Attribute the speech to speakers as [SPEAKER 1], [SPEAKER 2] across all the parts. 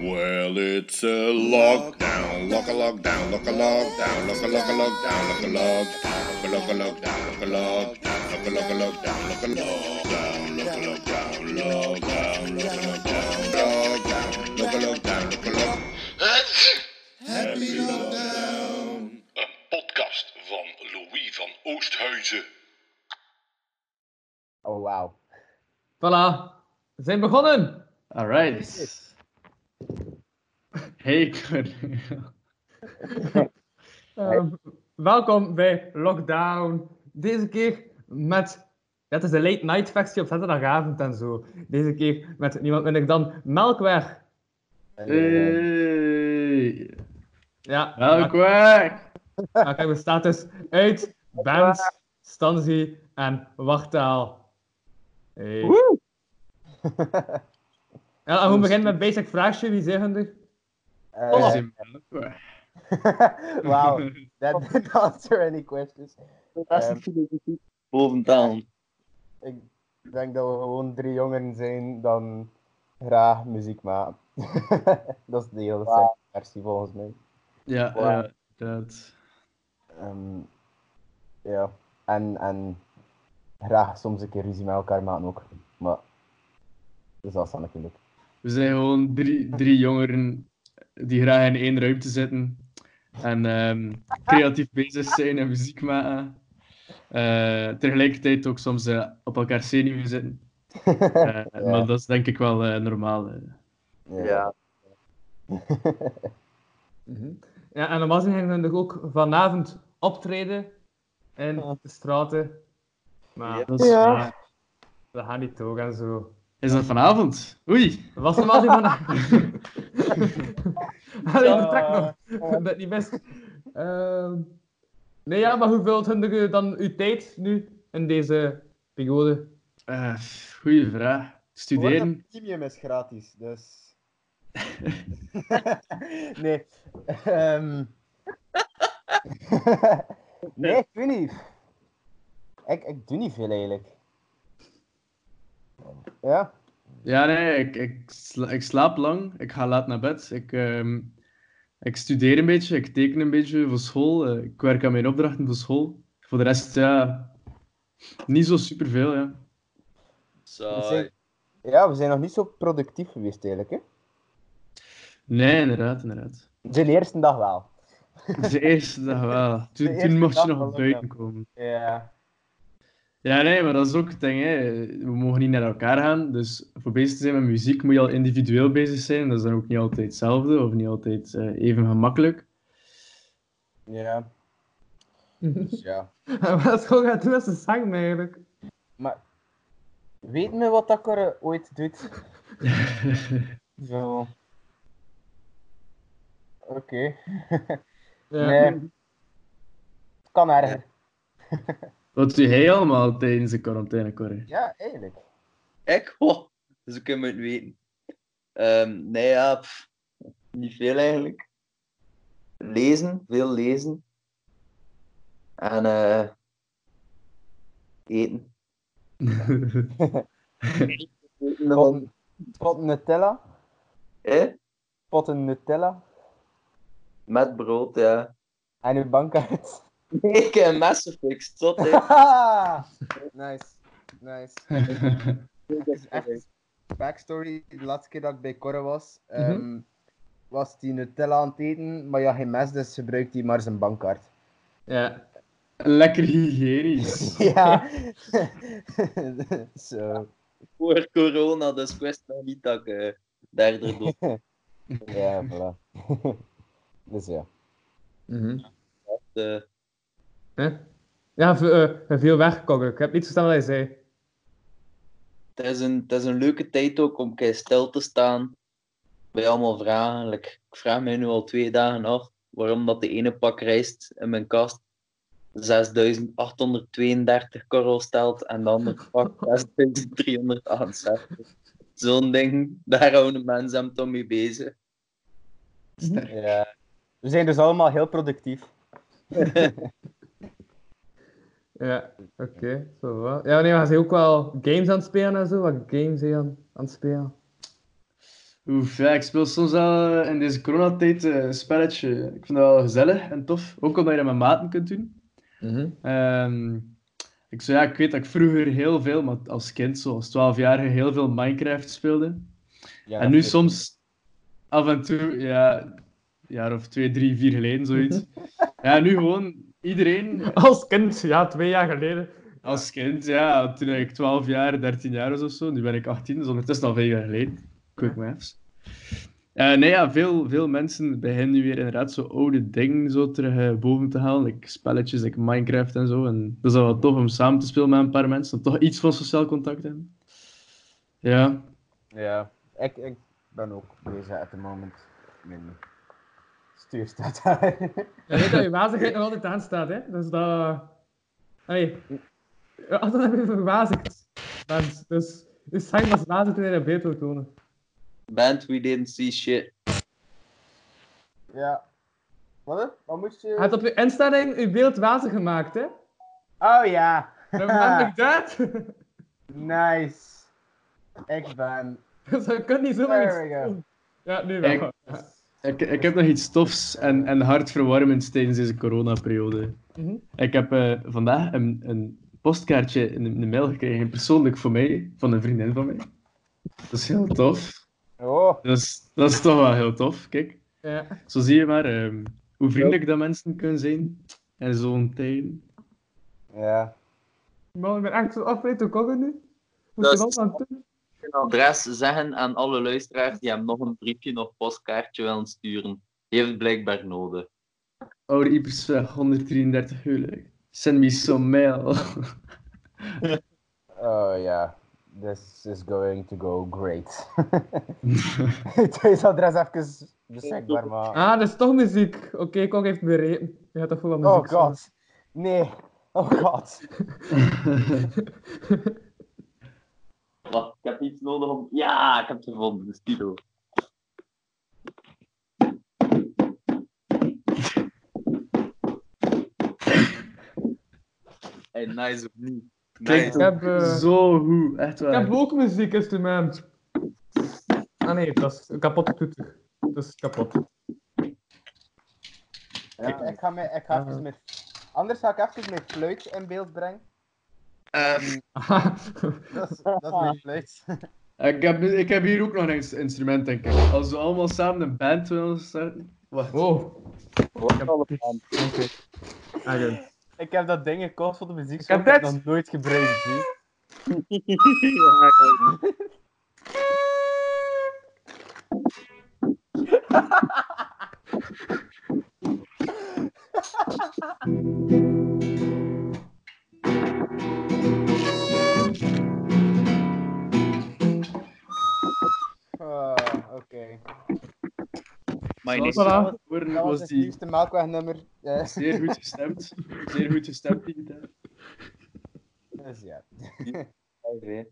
[SPEAKER 1] Well, it's a lockdown, lock a lockdown, lock a lockdown, lock a lock a lockdown, lock a lockdown, lock a lockdown, lock a lockdown, lock a lockdown, lock a lockdown, lock a lockdown, lockdown, lock a lockdown, lockdown, lock a lockdown, lock a lock. Happy lockdown.
[SPEAKER 2] Een podcast van Louis van Oosthuizen.
[SPEAKER 3] Oh, wauw.
[SPEAKER 4] Voilà, we zijn begonnen.
[SPEAKER 5] Alright. Hey, Colin.
[SPEAKER 4] Ehm, welkom bij Lockdown. Deze keer met. Dat is de late night versie op zaterdagavond en zo. Deze keer met niemand minder dan Melkweg.
[SPEAKER 5] Eh.
[SPEAKER 3] Eh,
[SPEAKER 5] Hey.
[SPEAKER 4] Ja,
[SPEAKER 5] Welk werk.
[SPEAKER 4] Melk- Melkweg bestaat dus uit Bens, Stanzi en Wartaal. Hey. Ja, en we beginnen met basic vraagje. Wie zeggen er?
[SPEAKER 3] Eh,
[SPEAKER 5] Is in Melkweg.
[SPEAKER 3] Wauw, that didn't answer any questions. Ehm,
[SPEAKER 6] Naast de filosofie. Boventaan.
[SPEAKER 3] Ik denk dat we gewoon drie jongeren zijn dan graag muziek maken. dat is de hele simpele versie volgens mij.
[SPEAKER 5] Ja,
[SPEAKER 3] Wow.
[SPEAKER 5] ja, dat.
[SPEAKER 3] Ehm, ja, en, en graag soms een keer ruzie met elkaar maken ook. Maar dus dat is dan natuurlijk.
[SPEAKER 5] We zijn gewoon drie, drie jongeren die graag in één ruimte zitten en ehm, creatief bezig zijn en muziek maken. Eh, tegelijkertijd ook soms eh, op elkaar zenuwen zitten. Eh, Maar dat is denk ik wel eh, normaal. eh.
[SPEAKER 6] Ja.
[SPEAKER 4] Ja, en normaal gezien gingen we natuurlijk ook vanavond optreden in
[SPEAKER 6] Ja.
[SPEAKER 4] de straten. Maar
[SPEAKER 6] Ja.
[SPEAKER 5] Dat is,
[SPEAKER 6] Ja.
[SPEAKER 5] waar.
[SPEAKER 4] dat gaat niet door en zo.
[SPEAKER 5] Is dat vanavond? Oei.
[SPEAKER 4] Dat was normaal gezien vanavond. Allee, vertrek nog. Dat niet best. Ehm, nee, ja, maar hoe vult hun er dan uw tijd nu in deze periode?
[SPEAKER 5] Eh, goeie vraag. Studeren?
[SPEAKER 3] premium is gratis, dus. nee. Ehm. nee, ik doe niet. Ik, ik doe niet veel eigenlijk. Ja?
[SPEAKER 5] Ja, nee, ik, ik, sla- ik slaap lang. Ik ga laat naar bed. Ik, ehm, ik studeer een beetje. Ik teken een beetje voor school. eh, ik werk aan mijn opdrachten voor school. Voor de rest, ja, niet zo superveel, ja.
[SPEAKER 3] We
[SPEAKER 6] Saai.
[SPEAKER 3] zijn, ja, we zijn nog niet zo productief geweest eigenlijk. Hè?
[SPEAKER 5] Nee, inderdaad, inderdaad.
[SPEAKER 3] De eerste dag wel.
[SPEAKER 5] De eerste dag wel. Toen,
[SPEAKER 3] De eerste
[SPEAKER 5] toen mocht
[SPEAKER 3] dag
[SPEAKER 5] je nog
[SPEAKER 3] wel, ja.
[SPEAKER 5] buiten komen.
[SPEAKER 3] Ja.
[SPEAKER 5] Ja, nee, maar dat is ook het ding, hè. We mogen niet naar elkaar gaan. Dus voor bezig te zijn met muziek moet je al individueel bezig zijn. Dat is dan ook niet altijd hetzelfde of niet altijd eh, even gemakkelijk.
[SPEAKER 3] Ja. Dus ja.
[SPEAKER 4] En wat school gaat doen als ze zang eigenlijk?
[SPEAKER 3] Maar weet me wat dat er eh, ooit doet? Zo. Oké.
[SPEAKER 4] Ja.
[SPEAKER 3] Nee. Het kan erger.
[SPEAKER 5] Wat doe jij allemaal tijdens de quarantaine, Corrie?
[SPEAKER 3] Ja, eigenlijk.
[SPEAKER 6] Ik? Oh, dus ik kan het weten. Ehm, nee, ja, pff, niet veel eigenlijk. Lezen, veel lezen. En eh eten. Eten dan,
[SPEAKER 3] Potten, potten Nutella.
[SPEAKER 6] eh,
[SPEAKER 3] Potten Nutella.
[SPEAKER 6] met brood, ja.
[SPEAKER 3] En uw bankkaart.
[SPEAKER 6] Ik heb een messenfix, tot hè.
[SPEAKER 3] Haha! nice. Nice.
[SPEAKER 6] Dat
[SPEAKER 3] is echt backstory. De laatste keer dat ik bij Corre was, ehm, was die Nutella aan het eten, maar ja, geen mes, dus gebruikt hij maar zijn bankkaart.
[SPEAKER 4] Ja.
[SPEAKER 5] Lekker hygiënisch.
[SPEAKER 3] Ja. Zo.
[SPEAKER 6] Voor corona, dus ik wist nog niet dat ik eh, derde dood
[SPEAKER 3] Ja, voilà. dus ja.
[SPEAKER 4] Mhm.
[SPEAKER 6] had. eh.
[SPEAKER 4] Hè? Ja, v- eh, veel werk, Kogge. Ik heb niet verstaan wat hij zei.
[SPEAKER 6] het is, een, het is een leuke tijd ook om een keer stil te staan bij allemaal vragen. Like, ik vraag mij nu al twee dagen af waarom dat de ene pak rijst in mijn kast 6832 korrels stelt en de andere pak 6368. Zo'n ding, daar houden mensen hem toch mee bezig.
[SPEAKER 3] ja. We zijn dus allemaal heel productief.
[SPEAKER 4] Ja, oké. zo wel. Ja, nee, maar hij is ook wel games aan het spelen en zo. Wat games zijn aan, aan het spelen?
[SPEAKER 5] Oef, ja, ik speel soms wel in deze coronatijd eh, een spelletje. Ik vind dat wel gezellig en tof. Ook omdat je dat met maten kunt doen.
[SPEAKER 4] Mhm.
[SPEAKER 5] Ehm, ik, zo, ja, ik weet dat ik vroeger heel veel, maar als kind, zoals 12-jarige, heel veel Minecraft speelde.
[SPEAKER 3] Ja,
[SPEAKER 5] en nu
[SPEAKER 3] dat-
[SPEAKER 5] soms af en toe, ja, een jaar of twee, drie, vier geleden, zoiets. ja, nu gewoon iedereen
[SPEAKER 4] Als kind, ja, twee jaar geleden.
[SPEAKER 5] als kind, ja, toen ik 12 jaar, 13 jaar was of zo, nu ben ik 18, dus ondertussen al 5 jaar geleden. Quick maths. Eh, nee, ja, veel, veel mensen beginnen nu weer inderdaad zo oude dingen zo terug eh, boven te halen. Like spelletjes, like Minecraft en zo. En dat is wel tof om samen te spelen met een paar mensen. Dan toch iets van sociaal contact hebben. Ja,
[SPEAKER 3] Ja, ik, ik ben ook bezig at the moment. Mijn stuur staat daar.
[SPEAKER 4] Je weet dat je wazigheid nog altijd aanstaat, hè? Dus dat. Allee. ja, Altijd heb je verwazigd. bent. Dus. Dus zijn als wazig toen je dat beter wil tonen.
[SPEAKER 6] Band, we didn't see shit.
[SPEAKER 3] ja. Wat? hè? Wat moest
[SPEAKER 4] Je
[SPEAKER 3] je...
[SPEAKER 4] hebt op je instelling je beeld wazig gemaakt, hè?
[SPEAKER 3] Oh ja.
[SPEAKER 4] Remember dat?
[SPEAKER 3] nice. Ik ben...
[SPEAKER 4] dus je kunt niet zomaar
[SPEAKER 3] There we
[SPEAKER 4] iets
[SPEAKER 3] go.
[SPEAKER 4] doen. Ja, nu wel.
[SPEAKER 5] Ik- ik, ik heb nog iets tofs en, en hartverwarmends tijdens deze coronaperiode.
[SPEAKER 4] Mhm.
[SPEAKER 5] Ik heb eh, vandaag een, een postkaartje in de, in de mail gekregen, persoonlijk voor mij, van een vriendin van mij. Dat is heel tof.
[SPEAKER 3] Oh.
[SPEAKER 5] Dat is, dat is toch wel heel tof, kijk.
[SPEAKER 4] Ja.
[SPEAKER 5] Zo zie je maar ehm, hoe vriendelijk dat mensen kunnen zijn in zo'n tijd.
[SPEAKER 3] Ja.
[SPEAKER 4] Man, ik ben echt zo afgeleid door COVID nu. Moet
[SPEAKER 6] Dat
[SPEAKER 4] je
[SPEAKER 6] is-
[SPEAKER 4] wel aan doen?
[SPEAKER 6] Een adres zeggen aan alle luisteraars die hem nog een briefje of postkaartje willen sturen. Die heeft het blijkbaar nodig.
[SPEAKER 5] Oude Ipersweg, 133 huwelijk. Send me some mail.
[SPEAKER 3] Oh ja. This is going to go great. Het is adres even beschikbaar, maar...
[SPEAKER 4] Ah, dat is toch muziek. Oké, Kong heeft bereden. Je gaat toch wel wat
[SPEAKER 3] Oh
[SPEAKER 4] muziek
[SPEAKER 3] god. Nee. Oh god.
[SPEAKER 6] Wacht, ik heb iets nodig om... Ja, ik heb het gevonden. De stilo. Hey, nice of niet?
[SPEAKER 5] Klinkt
[SPEAKER 4] Ik heb, eh,
[SPEAKER 5] zo goed, echt
[SPEAKER 4] Ik
[SPEAKER 5] waar.
[SPEAKER 4] heb ook muziekinstrument. Ah nee, dat is een kapotte toeter. Dat is kapot.
[SPEAKER 3] Ja, ik ga, me, ik ga even met... Anders ga ik even mijn fluit in beeld brengen.
[SPEAKER 4] Aha.
[SPEAKER 3] Dat is, dat is mijn fluit.
[SPEAKER 5] Ik heb, ik heb hier ook nog een ins- instrument, denk ik. Als we allemaal samen een band willen starten... Wacht.
[SPEAKER 4] Wow.
[SPEAKER 6] Wat allemaal?
[SPEAKER 4] Eigen.
[SPEAKER 3] Ik heb dat ding gekocht voor de muziek.
[SPEAKER 4] heb
[SPEAKER 3] Ik heb
[SPEAKER 4] dit.
[SPEAKER 3] dat nooit gebruikt. zie. Ah, Oké.
[SPEAKER 6] Mijn
[SPEAKER 5] Zoals
[SPEAKER 6] is
[SPEAKER 4] Voilà.
[SPEAKER 5] je hoorde,
[SPEAKER 3] Dat was
[SPEAKER 5] was
[SPEAKER 3] het
[SPEAKER 5] die
[SPEAKER 3] nieuwste melkwegnummer. Eh,
[SPEAKER 5] zeer goed gestemd. Zeer goed gestemd, die gitaar.
[SPEAKER 3] dus ja. ja
[SPEAKER 4] Hey,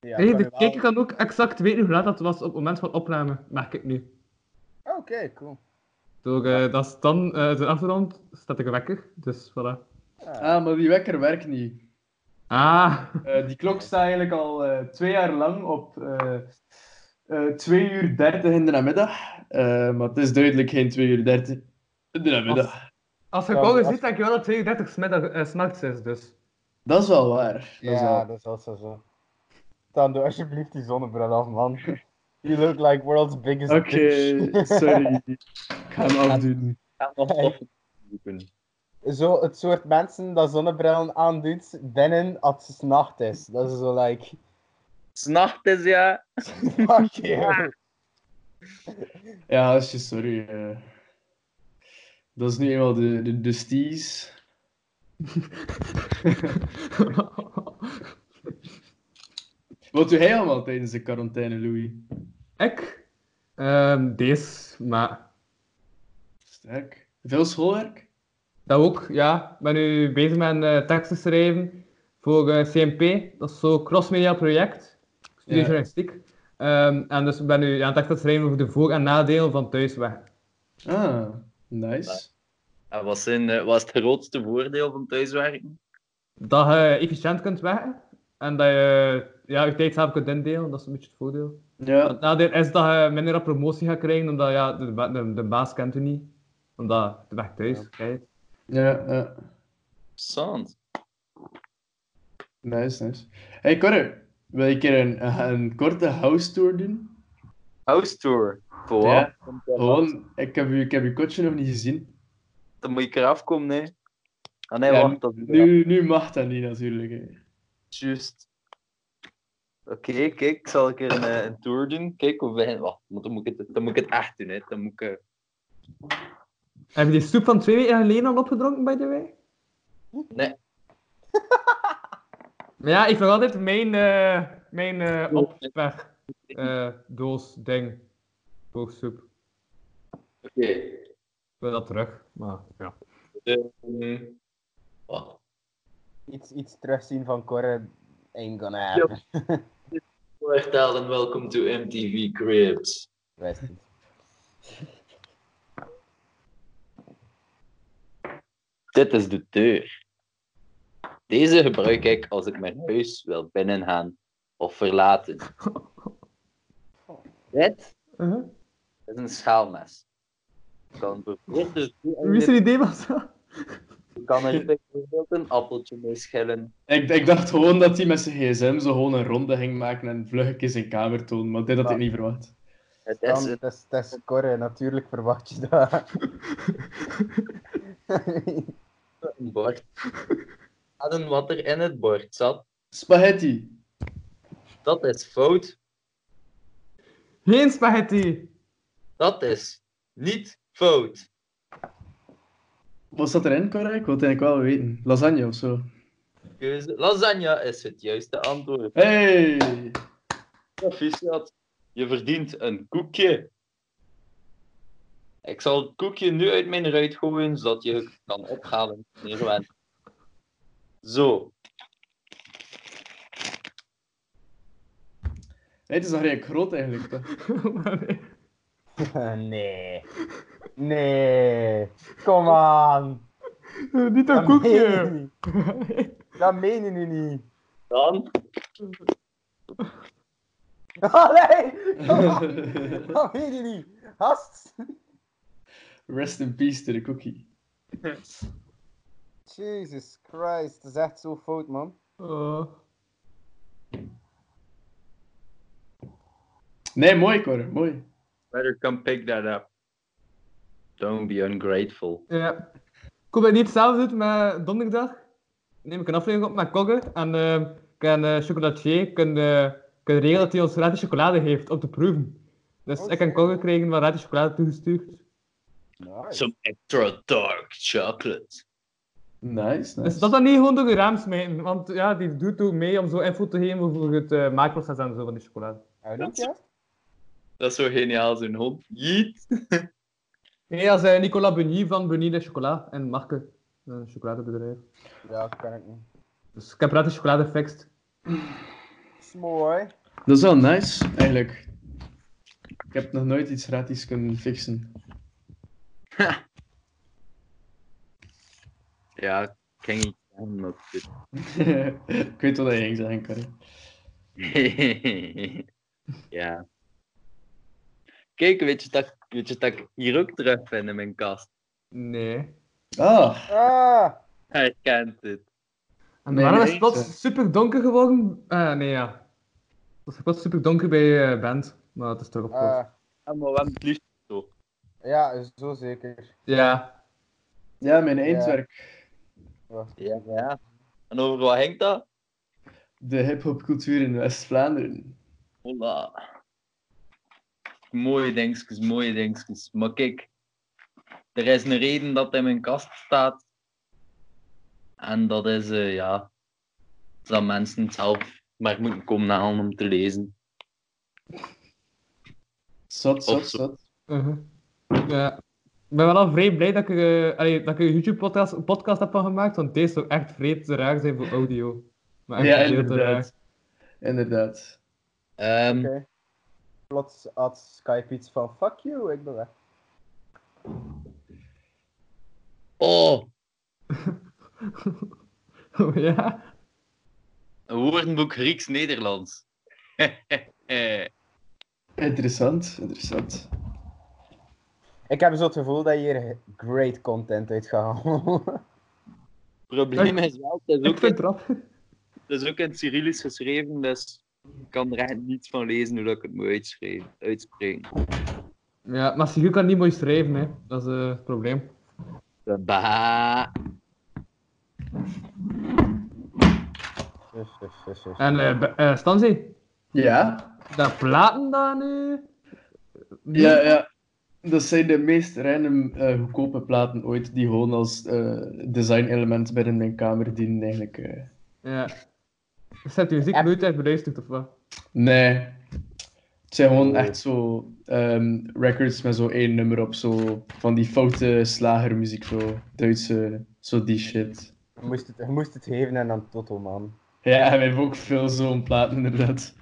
[SPEAKER 3] kan
[SPEAKER 4] de
[SPEAKER 3] u wel-
[SPEAKER 4] kijker kan ook exact weten hoe laat dat was op het moment van opname, merk ik nu.
[SPEAKER 3] Oké, cool.
[SPEAKER 4] Door, eh, dat is dan eh zijn afgerond, staat de wekker, dus voilà.
[SPEAKER 5] Ah, maar die wekker werkt niet.
[SPEAKER 4] Ah,
[SPEAKER 5] Eh, die klok staat eigenlijk al eh, twee jaar lang op eh eh 2 uur 30 in de namiddag. Eh, maar het is duidelijk geen 2 uur 30 in de namiddag.
[SPEAKER 4] als je
[SPEAKER 3] Ja,
[SPEAKER 4] Kong
[SPEAKER 3] als-
[SPEAKER 4] ziet, denk je wel dat 32 smiddag, eh, 's nachts is, dus.
[SPEAKER 5] Dat is wel waar. Dat is
[SPEAKER 3] Ja,
[SPEAKER 5] wel...
[SPEAKER 3] dat is wel zo. zo. Dan doe alsjeblieft die zonnebril af, man. You look like world's biggest
[SPEAKER 5] Oké,
[SPEAKER 3] bitch.
[SPEAKER 5] sorry. Ik ga hem afdoen.
[SPEAKER 3] zo het soort mensen dat zonnebrillen aandoet binnen als het 's nacht is. Dat is zo like...
[SPEAKER 6] S'nacht is ja.
[SPEAKER 3] Fuck you.
[SPEAKER 5] Ja, alsje, sorry. eh. Dat is nu eenmaal de, de, de sties. Wat doe jij allemaal tijdens de quarantaine, Louis?
[SPEAKER 4] ik? Ehm deze, maar...
[SPEAKER 5] Sterk. Veel schoolwerk?
[SPEAKER 4] Dat ook, ja. Ik ben nu bezig met een eh, teksten schrijven voor eh, CMP. Dat is zo'n crossmedia project. Ik studeer
[SPEAKER 5] Ja.
[SPEAKER 4] journalistiek. Ehm, en dus ik ben nu aan het teksten schrijven over de voor- en nadelen van thuiswerken.
[SPEAKER 5] Ah, nice.
[SPEAKER 6] En wat, zijn, eh, wat is het grootste voordeel van thuiswerken?
[SPEAKER 4] Dat je efficiënt kunt werken En dat je ja, je tijd zelf kunt indelen, dat is een beetje het voordeel.
[SPEAKER 5] Ja,
[SPEAKER 4] Het nadeel is dat je minder aan promotie gaat krijgen, omdat ja, de, ba- de, de baas kent u niet. Omdat de weg thuis, kijk.
[SPEAKER 5] ja, ja.
[SPEAKER 6] Interessant.
[SPEAKER 5] Nice, nice. Hey Corre, wil je een keer een, een korte house tour doen?
[SPEAKER 6] House tour. Voor wat?
[SPEAKER 5] Ja.
[SPEAKER 6] Komt dat af?
[SPEAKER 5] Gewoon, ik heb, je, ik heb je kotje nog niet gezien.
[SPEAKER 6] Dan moet ik eraf komen, nee. Ah nee,
[SPEAKER 5] Ja,
[SPEAKER 6] wacht. Dat is
[SPEAKER 5] Nu, nu mag dat niet natuurlijk. hè.
[SPEAKER 6] Juist. Oké, kijk, ik zal een keer een, eh, een tour doen. Kijk, we beginnen. Wacht, want dan moet ik het, dan moet ik het echt doen, hè. Dan moet ik... eh,
[SPEAKER 4] Heb je die soep van twee weken geleden al opgedronken, by the way?
[SPEAKER 6] Nee.
[SPEAKER 4] Maar ja, ik nog altijd mijn, eh mijn eh opper, eh, doos ding. Boogsoep.
[SPEAKER 6] Oké.
[SPEAKER 4] Ik wil dat terug, maar ja.
[SPEAKER 6] Ehm, wacht.
[SPEAKER 3] Iets, iets terugzien van Corre ain't gonna happen.
[SPEAKER 6] Voorstel en welcome to MTV Cribs.
[SPEAKER 3] Wist het.
[SPEAKER 6] Dit is de deur. Deze gebruik ik als ik mijn huis wil binnengaan of verlaten. Dit
[SPEAKER 4] Uh-huh.
[SPEAKER 6] is een schaalmes. Ik kan bijvoorbeeld
[SPEAKER 4] Wie is er idee was dat?
[SPEAKER 6] ik kan er bijvoorbeeld een appeltje mee schillen.
[SPEAKER 5] Ik, ik dacht gewoon dat hij met zijn gsm zo gewoon een ronde ging maken en vlug een keer zijn kamer tonen, maar dit had ik niet verwacht.
[SPEAKER 6] Het
[SPEAKER 3] Dan,
[SPEAKER 6] is een
[SPEAKER 3] het is, het is Corre, natuurlijk verwacht je dat.
[SPEAKER 6] een bord. Raden wat er in het bord zat,
[SPEAKER 5] Spaghetti.
[SPEAKER 6] dat is fout.
[SPEAKER 4] Geen spaghetti!
[SPEAKER 6] Dat is niet fout.
[SPEAKER 5] Wat zat erin, Corre? Ik wil het eigenlijk wel weten. Lasagne of zo.
[SPEAKER 6] Keuze. Lasagne is het juiste antwoord.
[SPEAKER 5] Hey!
[SPEAKER 6] Proficiat. Je verdient een koekje. Ik zal het koekje nu uit mijn ruit gooien, zodat je het kan ophalen. wanneer je wenst. Zo.
[SPEAKER 5] Hey, het is nog redelijk groot eigenlijk. toch?
[SPEAKER 4] Maar nee.
[SPEAKER 3] nee. Nee. Kom aan.
[SPEAKER 4] Niet een
[SPEAKER 3] Dat meen je
[SPEAKER 4] koekje!
[SPEAKER 3] niet. Dat meen je nu niet.
[SPEAKER 6] Dan.
[SPEAKER 3] Allee. Kom aan. Dat meen je niet. Hast.
[SPEAKER 5] Rest in peace to the cookie.
[SPEAKER 3] Jesus Christ. Dat is echt zo fout, man.
[SPEAKER 4] Oh.
[SPEAKER 5] Nee, mooi Corre, mooi.
[SPEAKER 6] Better come pick that up. Don't be ungrateful.
[SPEAKER 4] Ja. Kom ik niet hetzelfde doet met donderdag? Neem ik een aflevering op met Kogge en ehm ik en eh chocolatier eh, kunnen kunnen regelen dat hij ons gratis chocolade heeft om te proeven. Dus
[SPEAKER 3] Oh,
[SPEAKER 4] ik en Kogge kregen wat gratis chocolade toegestuurd.
[SPEAKER 3] Nice.
[SPEAKER 6] Some extra dark chocolate.
[SPEAKER 5] Nice,
[SPEAKER 4] Dus
[SPEAKER 5] nice.
[SPEAKER 4] dat dan niet gewoon door je raam smijten, want ja, die doet ook mee om zo info te geven over het eh, maakproces en zo van die chocolade.
[SPEAKER 3] Oh, niet, ja?
[SPEAKER 6] Dat is zo geniaal, zo'n hond. Jeet.
[SPEAKER 4] Nee, als eh, Nicolas Bunier van Bunier de Chocola en Marke, een chocoladebedrijf.
[SPEAKER 3] Ja, dat kan ik niet.
[SPEAKER 4] Dus ik heb gratis chocolade gefixt.
[SPEAKER 3] is mooi.
[SPEAKER 5] Dat is wel nice, eigenlijk. Ik heb nog nooit iets gratis kunnen fixen.
[SPEAKER 6] Ja, ik ging iets aan, maar het
[SPEAKER 5] ik weet wat je ging zeggen, Corre.
[SPEAKER 6] ja. Kijk, weet je, dat, weet je dat ik hier ook terug vind in mijn kast?
[SPEAKER 4] Nee.
[SPEAKER 5] Ah,
[SPEAKER 3] Ah.
[SPEAKER 6] Herkent het.
[SPEAKER 4] En
[SPEAKER 5] Nee,
[SPEAKER 4] waarom is
[SPEAKER 5] nee,
[SPEAKER 4] het plots
[SPEAKER 5] zeg.
[SPEAKER 4] super donker geworden? Eh, nee, ja. Het was plots super donker bij eh Band, maar het is terug op.
[SPEAKER 3] ah.
[SPEAKER 6] Ja, maar we hebben het liefst zo.
[SPEAKER 3] Ja, zo zeker.
[SPEAKER 4] Ja.
[SPEAKER 5] ja, mijn eindwerk.
[SPEAKER 6] Ja, ja. En over wat hangt dat?
[SPEAKER 5] De hip-hop-cultuur in West-Vlaanderen.
[SPEAKER 6] Hola. Mooie dingetjes, mooie dingetjes. Maar kijk, er is een reden dat het in mijn kast staat. En dat is, eh, ja, dat mensen het zelf maar moeten komen halen om te lezen.
[SPEAKER 5] Zot,
[SPEAKER 6] Of
[SPEAKER 5] zot,
[SPEAKER 6] zo.
[SPEAKER 5] zot.
[SPEAKER 4] Mhm. ja. Ik ben wel al vrij blij dat ik, eh, allee, dat ik een YouTube-podcast een podcast heb van gemaakt, want deze zou echt vreed te raar zijn voor audio. Maar echt
[SPEAKER 5] Ja,
[SPEAKER 4] heel te
[SPEAKER 5] inderdaad. Inderdaad.
[SPEAKER 6] Ehm,
[SPEAKER 3] Oké. Plots had Skype iets van fuck you, ik ben weg.
[SPEAKER 6] Oh,
[SPEAKER 4] raar. ja.
[SPEAKER 6] woordenboek Grieks-Nederlands.
[SPEAKER 5] Interessant, interessant.
[SPEAKER 3] Ik heb zo het gevoel dat je hier great content uit gaat halen.
[SPEAKER 6] probleem is wel, het is
[SPEAKER 4] Ik
[SPEAKER 6] ook,
[SPEAKER 4] vind het rap.
[SPEAKER 6] het is ook in het Cyrillisch geschreven, dus ik kan er echt niets van lezen hoe dat ik het moet uitschrijven- uitspreken.
[SPEAKER 4] Ja, maar Sigur kan niet mooi schrijven, hè. Dat is eh, het probleem.
[SPEAKER 6] Bah.
[SPEAKER 3] Zus, zus, zus, zus.
[SPEAKER 4] En eh, Be- eh, Stanzi,
[SPEAKER 5] Ja?
[SPEAKER 4] dat platen daar nu...
[SPEAKER 5] Ja, ja. Dat zijn de meest random eh, goedkope platen ooit, die gewoon als eh, design-element binnen mijn kamer dienen eigenlijk. eh.
[SPEAKER 4] Ja. Dus heb je muziek
[SPEAKER 3] Heb-
[SPEAKER 4] nooit uit beluisterd, of wat?
[SPEAKER 5] Nee. Het zijn gewoon echt zo ehm, records met zo één nummer op, zo van die foute slagermuziek, zo Duitse, zo die shit.
[SPEAKER 3] Je, moest het, je moest het geven en dan Toto, man.
[SPEAKER 5] Ja, we hebben ook veel zo'n platen inderdaad.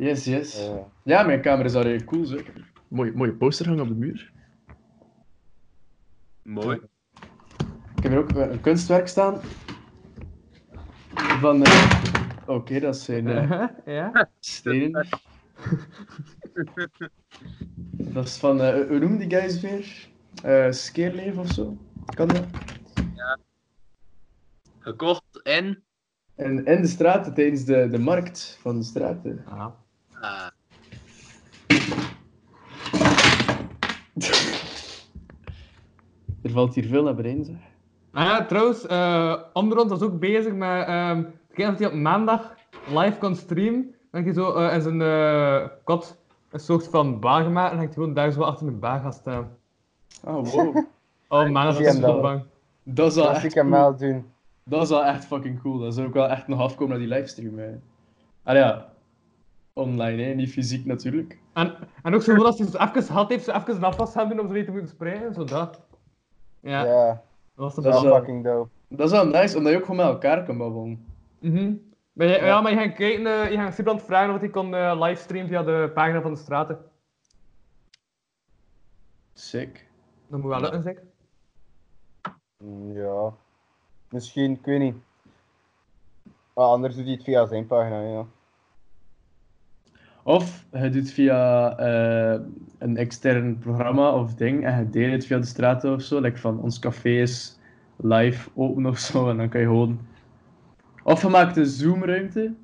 [SPEAKER 5] Yes, yes.
[SPEAKER 3] Eh,
[SPEAKER 5] Ja, mijn kamer is alweer cool, zeg. Mooie, mooie poster hangen op de muur.
[SPEAKER 6] Mooi.
[SPEAKER 5] Ik heb hier ook eh, een kunstwerk staan. Van. eh, Oké, dat zijn eh,
[SPEAKER 4] ja?
[SPEAKER 5] stenen. dat is van. eh, hoe noemen die guys weer? Eh Skeerleef of zo? Kan dat?
[SPEAKER 6] Gekocht en...
[SPEAKER 5] En, en de straten tijdens de, de markt van de straten.
[SPEAKER 6] Ah.
[SPEAKER 5] Er valt hier veel naar beneden, zeg.
[SPEAKER 4] Ah ja, trouwens, eh Omron was ook bezig met. ehm Kijk dat hij op maandag live kon streamen. Dan heb je zo eh, in zijn eh, kot een soort van baan gemaakt. En dan heb je gewoon daar zo achter een baan gaan staan.
[SPEAKER 5] Oh, wow.
[SPEAKER 4] Oh, maandag
[SPEAKER 3] zie
[SPEAKER 4] was ik
[SPEAKER 3] hem
[SPEAKER 4] zo
[SPEAKER 3] wel.
[SPEAKER 4] bang.
[SPEAKER 5] dat is al echt
[SPEAKER 3] Klassieke
[SPEAKER 5] cool.
[SPEAKER 3] mail doen.
[SPEAKER 5] Dat is wel echt fucking cool. Dat zou ook wel echt nog afkomen naar die livestream. Hè. Ah ja, online, hè? niet fysiek natuurlijk.
[SPEAKER 4] En, en ook zo goed als hij zo even had, heeft ze even een afwas gaan doen om zo niet te moeten spreiden. Zo dat. Ja,
[SPEAKER 3] Ja,
[SPEAKER 4] dat was de
[SPEAKER 3] dat is
[SPEAKER 5] wel-
[SPEAKER 3] fucking dope.
[SPEAKER 5] Dat is wel nice, omdat je ook gewoon met elkaar kan babbelen.
[SPEAKER 4] Mhm. Maar je, ja.
[SPEAKER 5] Ja.
[SPEAKER 4] maar je gaat kijken, eh, je gaat Sibrand vragen of hij kon eh livestreamen via de pagina van de straten.
[SPEAKER 5] Sick.
[SPEAKER 4] Dat moet wel lukken, zeker.
[SPEAKER 3] Mm, Ja. Misschien, ik weet niet. Ah, anders doet hij het via zijn pagina, ja.
[SPEAKER 5] Of je doet het via eh, een extern programma of ding en je deelt het via de straten of zo. Like van ons café is live open of zo. En dan kan je gewoon. Of je maakt een Zoom-ruimte.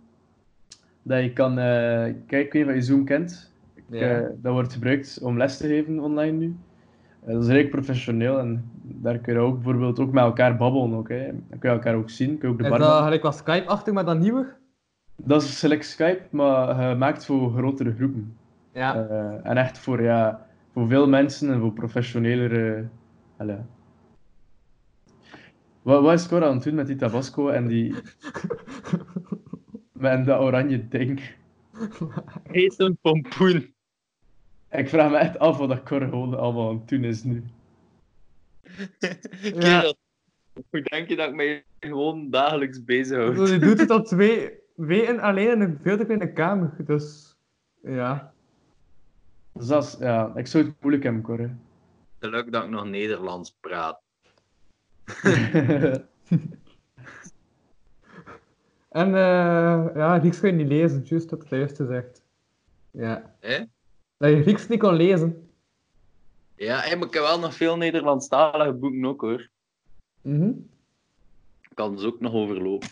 [SPEAKER 5] Dat je kan. eh kijk, ik weet niet of je Zoom kent. Ik,
[SPEAKER 4] Ja.
[SPEAKER 5] eh, dat wordt gebruikt om les te geven online nu. Eh, dat is redelijk professioneel en daar kun je ook bijvoorbeeld ook met elkaar babbelen. Ook, hè. Dan kun je elkaar ook zien. Kun je ook de
[SPEAKER 4] Is
[SPEAKER 5] barman
[SPEAKER 4] dat gelijk wat Skype-achtig, maar dan nieuwer?
[SPEAKER 5] dat is select Skype, maar gemaakt voor grotere groepen.
[SPEAKER 4] Ja.
[SPEAKER 5] Eh, en echt voor, ja, voor veel mensen en voor professionelere. allee. Wat, wat is Cora aan het doen met die Tabasco en die. en dat oranje ding?
[SPEAKER 6] Heet een pompoen.
[SPEAKER 5] Ik vraag me echt af wat dat Cora gewoon allemaal aan het doen is nu.
[SPEAKER 6] Kerel, hoe denk je dat ik mij gewoon dagelijks bezighoud?
[SPEAKER 4] Je doet het al twee weken alleen in een veel te kleine kamer. Dus ja.
[SPEAKER 5] Dus dat is, ja, ik zou het moeilijk hebben, Cora.
[SPEAKER 6] Gelukkig dat ik nog Nederlands praat.
[SPEAKER 4] En eh ja, Grieks kun je niet lezen, juist dat het juist gezegd. Ja.
[SPEAKER 6] Hè?
[SPEAKER 4] Dat je Grieks niet kon lezen.
[SPEAKER 6] Ja, hé, maar ik heb wel nog veel Nederlandstalige boeken ook hoor.
[SPEAKER 4] Mhm.
[SPEAKER 6] Ik kan ze ook nog overlopen.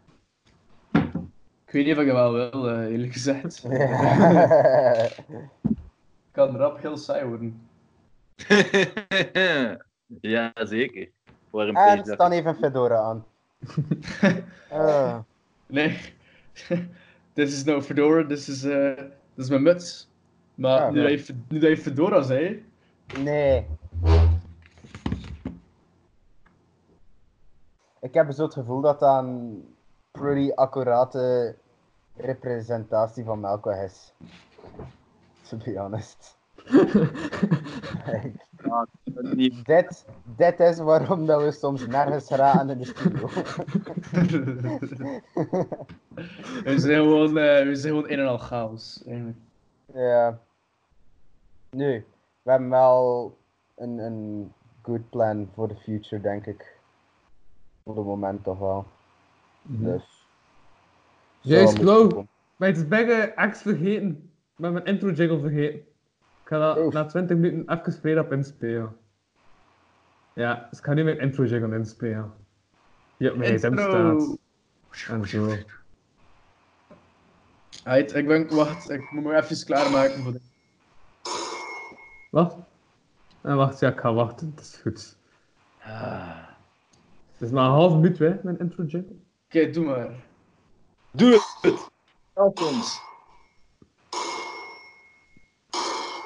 [SPEAKER 5] ik weet niet of ik dat wel wil, eh, eerlijk gezegd.
[SPEAKER 3] Ah,
[SPEAKER 5] kan rap heel saai worden.
[SPEAKER 6] ja, zeker. Waarom
[SPEAKER 3] en
[SPEAKER 6] is dat?
[SPEAKER 3] staan even een fedora aan. Eh,
[SPEAKER 5] Nee. This is no fedora, this is, eh, this is mijn muts. Maar
[SPEAKER 3] Ah,
[SPEAKER 5] nu,
[SPEAKER 3] ja.
[SPEAKER 5] dat je, fe- nu dat je fedora zei,
[SPEAKER 3] nee. Ik heb zo het gevoel dat dat een pretty accurate representatie van Melkweg is. To be honest.
[SPEAKER 6] Niet
[SPEAKER 3] dit, dit is waarom dat we soms nergens raken in de studio.
[SPEAKER 5] we zijn gewoon, eh, we zijn gewoon een en al chaos. Eigenlijk.
[SPEAKER 3] Ja. Eh, Nu, we hebben wel een, een good plan voor de future, denk ik. Voor het moment toch wel. Dus.
[SPEAKER 4] Juist,
[SPEAKER 3] dat moet
[SPEAKER 4] Lau.
[SPEAKER 3] komen.
[SPEAKER 4] Maar het is bijna X vergeten. Maar mijn intro jingle vergeten. Ik ga dat
[SPEAKER 3] Oef.
[SPEAKER 4] na 20 minuten even verder op inspelen. Ja, dus ik ga nu mijn intro jingle inspelen. Die op mijn gsm staat. En zo.
[SPEAKER 5] Right, ik ben... Wacht, ik moet me even klaarmaken voor de...
[SPEAKER 4] Wat? En Ah, wacht, ja, ik ga wachten. Het is goed.
[SPEAKER 6] Ah.
[SPEAKER 4] Het is maar een half minuut, hè, mijn intro jingle.
[SPEAKER 5] Oké, doe maar.
[SPEAKER 6] Doe het! Help ons!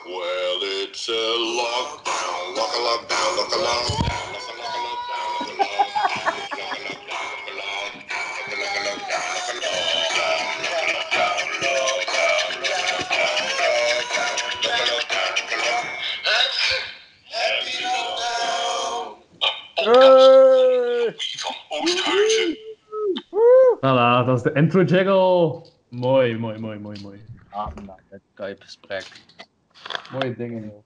[SPEAKER 1] Well, it's a lockdown, lock a lockdown, lock a lockdown, lock a lock a lockdown, lock a lockdown,
[SPEAKER 2] Van Oosthuizen.
[SPEAKER 4] Voilà, dat is de intro jingle.
[SPEAKER 5] Mooi, mooi, mooi, mooi, mooi.
[SPEAKER 6] Ah, nou, dat Skype-gesprek.
[SPEAKER 5] Mooie dingen, joh.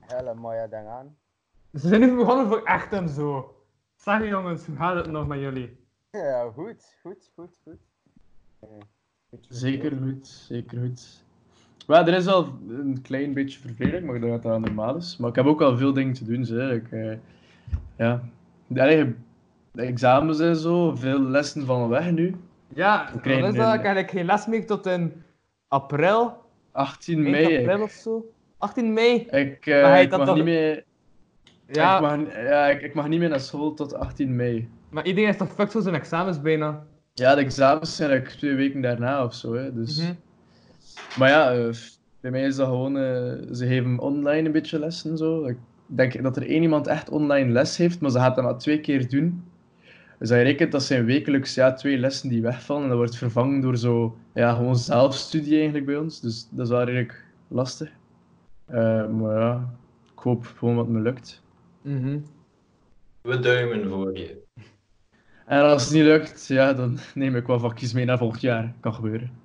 [SPEAKER 3] Hele mooie ding aan.
[SPEAKER 4] Ze Dus zijn nu begonnen voor echt en zo. Zeg jongens, hoe gaat het nog met jullie?
[SPEAKER 3] Ja, goed, goed, goed, goed. Eh, goed, goed,
[SPEAKER 5] Zeker
[SPEAKER 3] goed.
[SPEAKER 5] goed, zeker goed. Wel, er is al een klein beetje verveling, maar ik denk dat dat normaal is. Maar ik heb ook al veel dingen te doen, zeg. Ik, eh, ja. De eigen examens en zo, veel lessen van weg nu.
[SPEAKER 4] Ja,
[SPEAKER 5] We
[SPEAKER 4] dan
[SPEAKER 5] krijgen
[SPEAKER 4] is dat ik
[SPEAKER 5] een-
[SPEAKER 4] eigenlijk geen les meer tot in april.
[SPEAKER 5] 18
[SPEAKER 4] eind
[SPEAKER 5] mei. Ik,
[SPEAKER 4] april of zo. 18 mei.
[SPEAKER 5] ik, eh,
[SPEAKER 4] Maar hij
[SPEAKER 5] ik
[SPEAKER 4] dat
[SPEAKER 5] mag
[SPEAKER 4] toch-
[SPEAKER 5] niet meer,
[SPEAKER 4] Ja,
[SPEAKER 5] ik, mag, ja ik, ik mag niet meer naar school tot 18 mei.
[SPEAKER 4] maar iedereen is toch fucked voor zijn examens bijna.
[SPEAKER 5] Ja, de examens zijn eigenlijk twee weken daarna of zo. Hè, dus.
[SPEAKER 4] Mhm.
[SPEAKER 5] Maar ja, eh, bij mij is dat gewoon. eh, ze geven online een beetje lessen en zo. Ik denk dat er één iemand echt online les heeft, maar ze gaat dat maar twee keer doen. Dus dat je rekent, dat zijn wekelijks ja, twee lessen die wegvallen. En dat wordt vervangen door zo. Ja, gewoon zelfstudie eigenlijk bij ons. Dus dat is wel redelijk lastig. Eh, maar ja, ik hoop gewoon wat me lukt.
[SPEAKER 4] Mhm.
[SPEAKER 6] We duimen voor je.
[SPEAKER 5] En als het niet lukt, ja, dan neem ik wel vakjes mee naar volgend jaar. Kan gebeuren.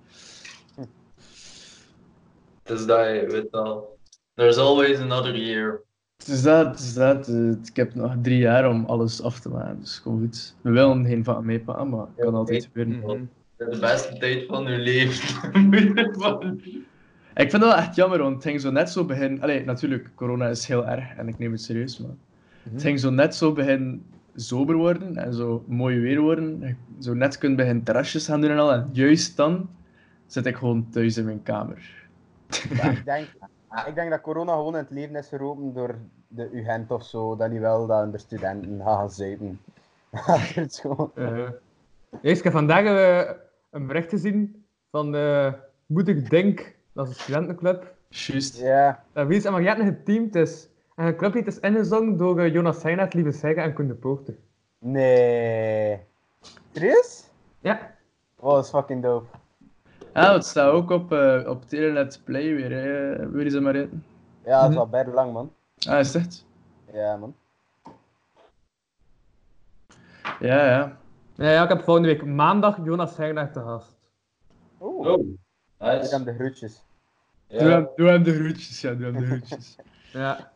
[SPEAKER 6] Dus dat je weet al. There's always another year.
[SPEAKER 5] Het is Dus dat, het is dat. eh, Ik heb nog drie jaar om alles af te maken, dus kom goed. We willen geen van meepakken, maar het kan altijd gebeuren.
[SPEAKER 4] Mhm.
[SPEAKER 6] De beste tijd van je leven.
[SPEAKER 5] Ik vind dat wel echt jammer, want het ging zo net zo begin... Allee, natuurlijk, corona is heel erg en ik neem het serieus, maar... Het ging zo net zo begin sober worden en zo mooi weer worden. Zo net kunt begin terrasjes gaan doen en al. En juist dan zit ik gewoon thuis in mijn kamer.
[SPEAKER 3] Ja, ik, denk, ik denk dat corona gewoon in het leven is geroepen door de UGent of zo, dat die wel dat de studenten gaan gaan zuipen. Het is gewoon-
[SPEAKER 4] Eh, Eerst, ik heb vandaag eh, een bericht gezien van eh Moet ik Denk, dat is een studentenclub.
[SPEAKER 5] Juist.
[SPEAKER 3] Ja,
[SPEAKER 4] Dat Eh, Wies en Mariette geteamd is. En een clublied is ingezongen door eh, Jonas Heijnet, Lieve Seiga en Koen de Poorter.
[SPEAKER 3] nee. Serieus?
[SPEAKER 4] Ja,
[SPEAKER 3] Oh, dat is fucking dope.
[SPEAKER 5] Ah, het staat ook op, eh op Telenet Play weer, hè. Wil je ze maar in?
[SPEAKER 3] Ja, dat is
[SPEAKER 4] Mhm.
[SPEAKER 3] al bijna lang, man.
[SPEAKER 5] Ah, is dat?
[SPEAKER 3] Ja, man.
[SPEAKER 5] Ja, ja.
[SPEAKER 4] Ja, ja, ik heb volgende week maandag Jonas Heijnet te gast.
[SPEAKER 3] Oeh,
[SPEAKER 6] Oh,
[SPEAKER 3] hier
[SPEAKER 6] nice.
[SPEAKER 3] aan de groetjes.
[SPEAKER 5] Doe,
[SPEAKER 6] Ja.
[SPEAKER 5] hem, doe hem de groetjes, ja, doe hem de groetjes.
[SPEAKER 4] Ja.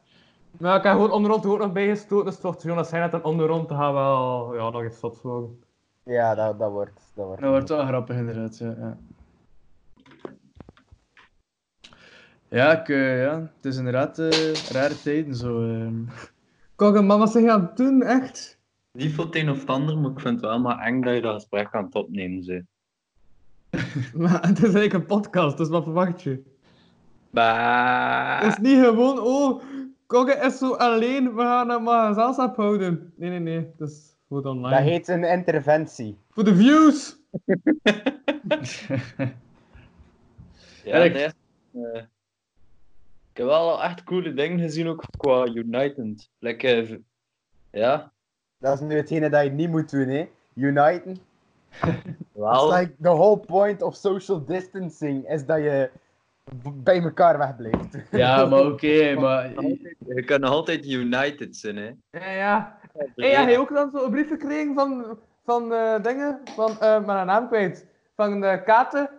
[SPEAKER 4] Maar ik heb gewoon onderrond er ook nog bijgestoten, dus toch Jonas Heijnet en onderrond te gaan wel ja, nog iets zots worden.
[SPEAKER 3] Ja, dat, dat wordt. Dat wordt.
[SPEAKER 5] dat wordt wel grappig inderdaad, ja. Ja, ja, ik, eh, ja het is inderdaad eh, rare tijden zo. ehm.
[SPEAKER 4] Kogge, man, wat zijn je aan het doen, echt?
[SPEAKER 6] Niet voor het een of het ander, maar ik vind het wel maar eng dat je dat gesprek aan het opnemen bent.
[SPEAKER 4] Maar het is eigenlijk een podcast, dus wat verwacht je?
[SPEAKER 6] Bah.
[SPEAKER 4] Het is niet gewoon, oh, Kogge is zo alleen, we gaan hem maar gezelschap houden. Nee, nee, nee, het is voor het online.
[SPEAKER 3] Dat heet een interventie.
[SPEAKER 4] Voor de views!
[SPEAKER 6] Ja,
[SPEAKER 5] Erik.
[SPEAKER 6] nee. Eh, ik heb wel al echt coole dingen gezien ook qua United. Lekker, ja,
[SPEAKER 3] Dat is nu hetgene dat je niet moet doen, hè? Uniten. It's
[SPEAKER 6] wel.
[SPEAKER 3] like the whole point of social distancing is dat je b- bij elkaar wegblijft.
[SPEAKER 5] ja, maar oké, maar...
[SPEAKER 6] Je kan nog altijd United zijn, hè?
[SPEAKER 4] Ja, ja. Hey, ja, hij ook dan zo'n brief gekregen van, van eh, dingen, van, eh maar een naam kwijt, van de Katen.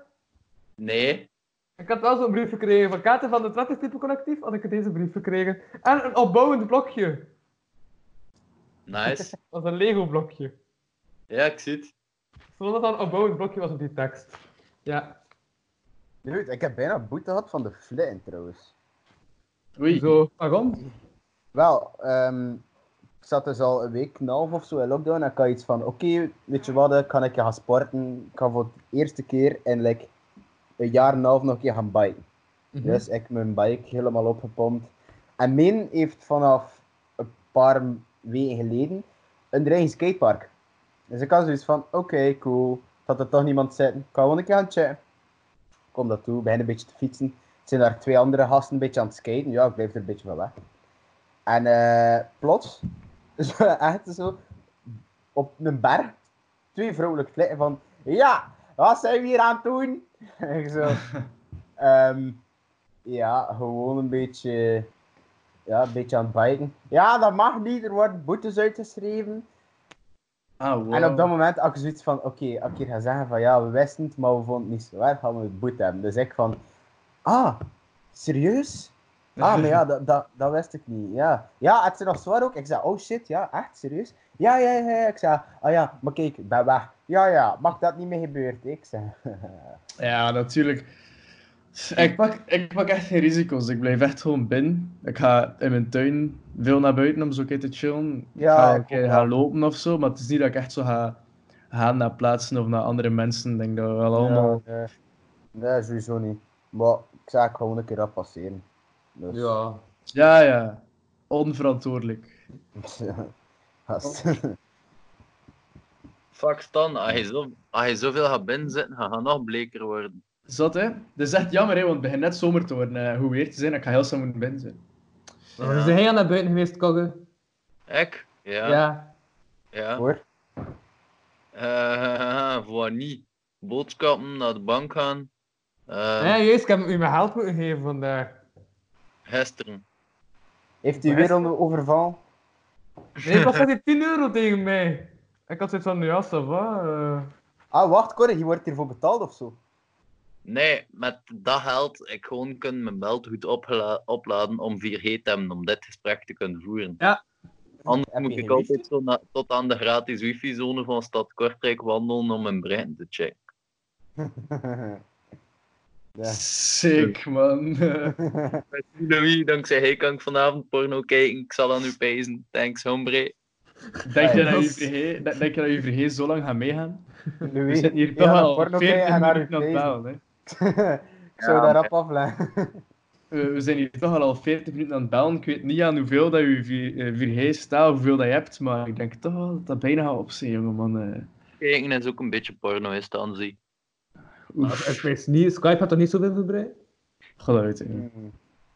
[SPEAKER 6] Nee.
[SPEAKER 4] Ik had wel zo'n brief gekregen van Katen van het Wettertype Collectief, had ik deze brief gekregen. En een opbouwend blokje.
[SPEAKER 6] Nice.
[SPEAKER 4] Dat is een Lego-blokje.
[SPEAKER 6] Ja, ik zie het.
[SPEAKER 4] Zodat dat een opbouwend blokje was op die tekst. Ja,
[SPEAKER 3] Dude, ik heb bijna boete gehad van de flint trouwens.
[SPEAKER 5] Oei.
[SPEAKER 4] zo. Waarom?
[SPEAKER 3] Wel, ehm, ik zat dus al een week en een half of zo in lockdown en ik had iets van, oké, weet je wat, ik ga ik gaan sporten. Ik ga voor de eerste keer in like, een jaar en een half nog een keer gaan biken. Dus ik heb mijn bike helemaal opgepompt. En Min heeft vanaf een paar weken geleden een eigen skatepark. Dus ik had zoiets van, oké, cool. Dat er toch niemand zitten. Ik ga gewoon een keer gaan checken. Ik Kom dat toe, begin een beetje te fietsen. Er zijn daar twee andere gasten een beetje aan het skaten. Ja, ik blijf er een beetje van weg. En eh, plots, zo, echt zo, op een berg, twee vrouwelijke flikken van, ja, wat zijn we hier aan het doen? En ik zo, ehm, ja, gewoon een beetje, ja, een beetje aan het bijten. Ja, dat mag niet, er worden boetes uitgeschreven.
[SPEAKER 5] Ah, wow.
[SPEAKER 3] En op dat moment had ik zoiets van, oké, als ik hier ga zeggen van, ja, we wisten het, maar we vonden het niet zo erg, gaan we het boete hebben. Dus ik van, ah, serieus? Ah, maar ja, dat, dat, dat wist ik niet. Ja, ja het is nog zwaar ook. Ik zei, oh shit, ja, echt, serieus? Ja, ja, ja, ja. Ik zei, ah ja, maar kijk, ik ben weg. Ja, ja, mag dat niet meer gebeuren? Ik zei,
[SPEAKER 5] Ja, natuurlijk. Ik pak, ik pak echt geen risico's. Ik blijf echt gewoon binnen. Ik ga in mijn tuin veel naar buiten om zo een keer te chillen.
[SPEAKER 3] Ja,
[SPEAKER 5] ik ga,
[SPEAKER 3] ik
[SPEAKER 5] een keer
[SPEAKER 3] ook
[SPEAKER 5] gaan
[SPEAKER 3] wel.
[SPEAKER 5] lopen of zo. Maar het is niet dat ik echt zo ga gaan naar plaatsen of naar andere mensen. Ik denk dat we wel allemaal.
[SPEAKER 3] Ja, eh, nee, sowieso niet. Maar ik zei, ik ga gewoon een keer dat passeren. Dus,
[SPEAKER 4] Ja.
[SPEAKER 5] Ja, ja. Onverantwoordelijk.
[SPEAKER 3] gast.
[SPEAKER 6] Fuck Stan, als je, zo, als je zoveel gaat binnenzitten, ga je nog bleker worden.
[SPEAKER 5] Zat hè? Dus Dat is echt jammer, hè, want het begint net zomer te worden. eh, Hoe weer te zijn, ik ga heel snel moeten binnen zijn.
[SPEAKER 4] Waar is hij aan naar buiten geweest, koggen?
[SPEAKER 6] Ik? Ja. Ja.
[SPEAKER 4] Ja.
[SPEAKER 3] Hoor.
[SPEAKER 6] Eh, voor niet. Boodschappen, naar de bank gaan. Eh,
[SPEAKER 4] Ja, juist, ik heb u mijn geld moeten geven vandaag.
[SPEAKER 6] Gisteren.
[SPEAKER 3] Heeft u weer een overval?
[SPEAKER 4] Nee, pas had hij 10 euro tegen mij. Ik had zoiets van, ja, ça va. eh.
[SPEAKER 3] Ah, wacht, Corrie, je wordt hiervoor betaald of zo?
[SPEAKER 6] Nee, met dat geld, ik gewoon kan mijn belt goed opgela- opladen om 4G te hebben, om dit gesprek te kunnen voeren.
[SPEAKER 4] Ja.
[SPEAKER 6] Anders
[SPEAKER 3] Heb je
[SPEAKER 6] moet ik
[SPEAKER 3] geen wifi?
[SPEAKER 6] altijd zo na- tot aan de gratis wifi-zone van Stad Kortrijk wandelen om mijn brein te checken.
[SPEAKER 3] ja.
[SPEAKER 5] Sick, man.
[SPEAKER 6] Met Louis, dankzij hij kan ik vanavond porno kijken. Ik zal aan u pezen. Thanks, hombre.
[SPEAKER 5] Denk je
[SPEAKER 3] Ja,
[SPEAKER 5] dat
[SPEAKER 4] dat
[SPEAKER 5] je
[SPEAKER 4] is-
[SPEAKER 5] vergeet- denk- denk je dat je vergeet zo lang gaat meegaan? We
[SPEAKER 3] Louis,
[SPEAKER 5] zitten hier toch
[SPEAKER 3] ja,
[SPEAKER 5] al
[SPEAKER 3] porno
[SPEAKER 5] 40
[SPEAKER 3] kijken en naar uw
[SPEAKER 5] minuten aan het
[SPEAKER 3] feest.
[SPEAKER 5] bellen, hè.
[SPEAKER 3] ik zou
[SPEAKER 6] Ja,
[SPEAKER 3] daarop afleiden.
[SPEAKER 5] We, we zijn hier toch al 40 minuten aan het bellen. Ik weet niet aan hoeveel dat je 4G staat, hoeveel dat je hebt, maar ik denk toch wel dat dat bijna gaat op zijn, jongeman. eh.
[SPEAKER 6] Kijken is ook een beetje porno, is het aan zie.
[SPEAKER 5] Oef,
[SPEAKER 4] Ik weet niet, Skype had toch niet zoveel verbreid?
[SPEAKER 5] geluid. hè.
[SPEAKER 3] Dat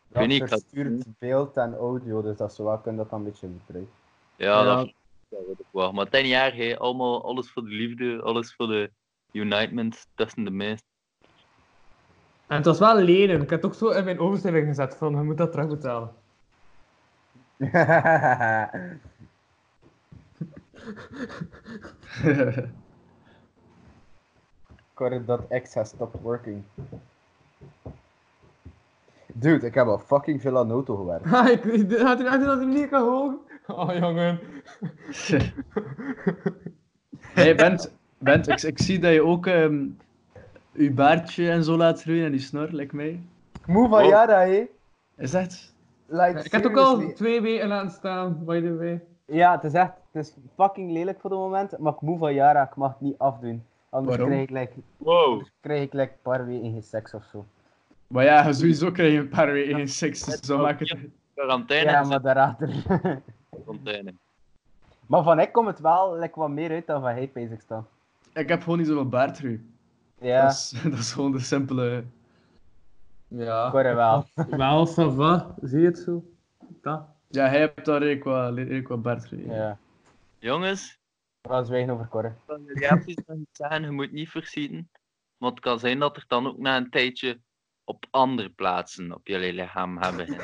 [SPEAKER 6] weet niet, ik had-
[SPEAKER 3] verstuurt Hmm. beeld en audio, dus dat ze wel kunnen dat dan een beetje gebruiken.
[SPEAKER 6] Ja,
[SPEAKER 4] Ja.
[SPEAKER 6] dat dat weet ik wel. Maar tien jaar, hè, allemaal alles voor de liefde, alles voor de unitement tussen de mensen.
[SPEAKER 4] En het was wel lenen. Ik had het ook zo in mijn overschrijving gezet van, je moet dat terugbetalen.
[SPEAKER 3] Corrid.x has stopped working. Dude, ik heb al fucking veel aan auto gewerkt.
[SPEAKER 4] Ha, Ah, ik had hij had hij dat niet kan horen. Oh, jongen.
[SPEAKER 5] hey, Bent, Bent ik, ik zie dat je ook ehm je baardje en zo laat groeien en die snor, lijkt mij.
[SPEAKER 3] Moe van
[SPEAKER 6] Oh.
[SPEAKER 3] Yara, hé.
[SPEAKER 5] Is dat?
[SPEAKER 3] Like,
[SPEAKER 4] Ik had ook al
[SPEAKER 3] seriously.
[SPEAKER 4] twee weken laten staan, by the way.
[SPEAKER 3] Ja, het is echt, het is fucking lelijk voor de moment, maar ik moe van Yara, ik mag het niet afdoen. Anders
[SPEAKER 5] Waarom?
[SPEAKER 3] krijg ik like,
[SPEAKER 6] Wow.
[SPEAKER 3] krijg ik like een paar weken geen seks of zo.
[SPEAKER 5] Maar ja, sowieso krijg je een paar weken in seks, dus dat maakt het...
[SPEAKER 6] Quarantaine
[SPEAKER 3] Ja,
[SPEAKER 6] is
[SPEAKER 3] maar daarachter.
[SPEAKER 6] een quarantaine.
[SPEAKER 3] Maar van ik komt het wel like, wat meer uit dan van hij bezig staan.
[SPEAKER 5] Ik heb gewoon niet zoveel baardgroei.
[SPEAKER 3] Ja,
[SPEAKER 5] Dat, is, dat is gewoon de simpele...
[SPEAKER 4] Ja.
[SPEAKER 3] ik hoor het wel.
[SPEAKER 4] Wel, ça va. Zie je het zo? Dat.
[SPEAKER 5] Ja, hij hebt daar redelijk wat, redelijk wat baardgroei.
[SPEAKER 3] Ja.
[SPEAKER 6] Jongens,
[SPEAKER 3] We gaan zwijgen over Corre.
[SPEAKER 6] van de reacties nog iets zeggen, je moet niet verschieten. Want het kan zijn dat er dan ook na een tijdje op andere plaatsen op jullie lichaam hebben.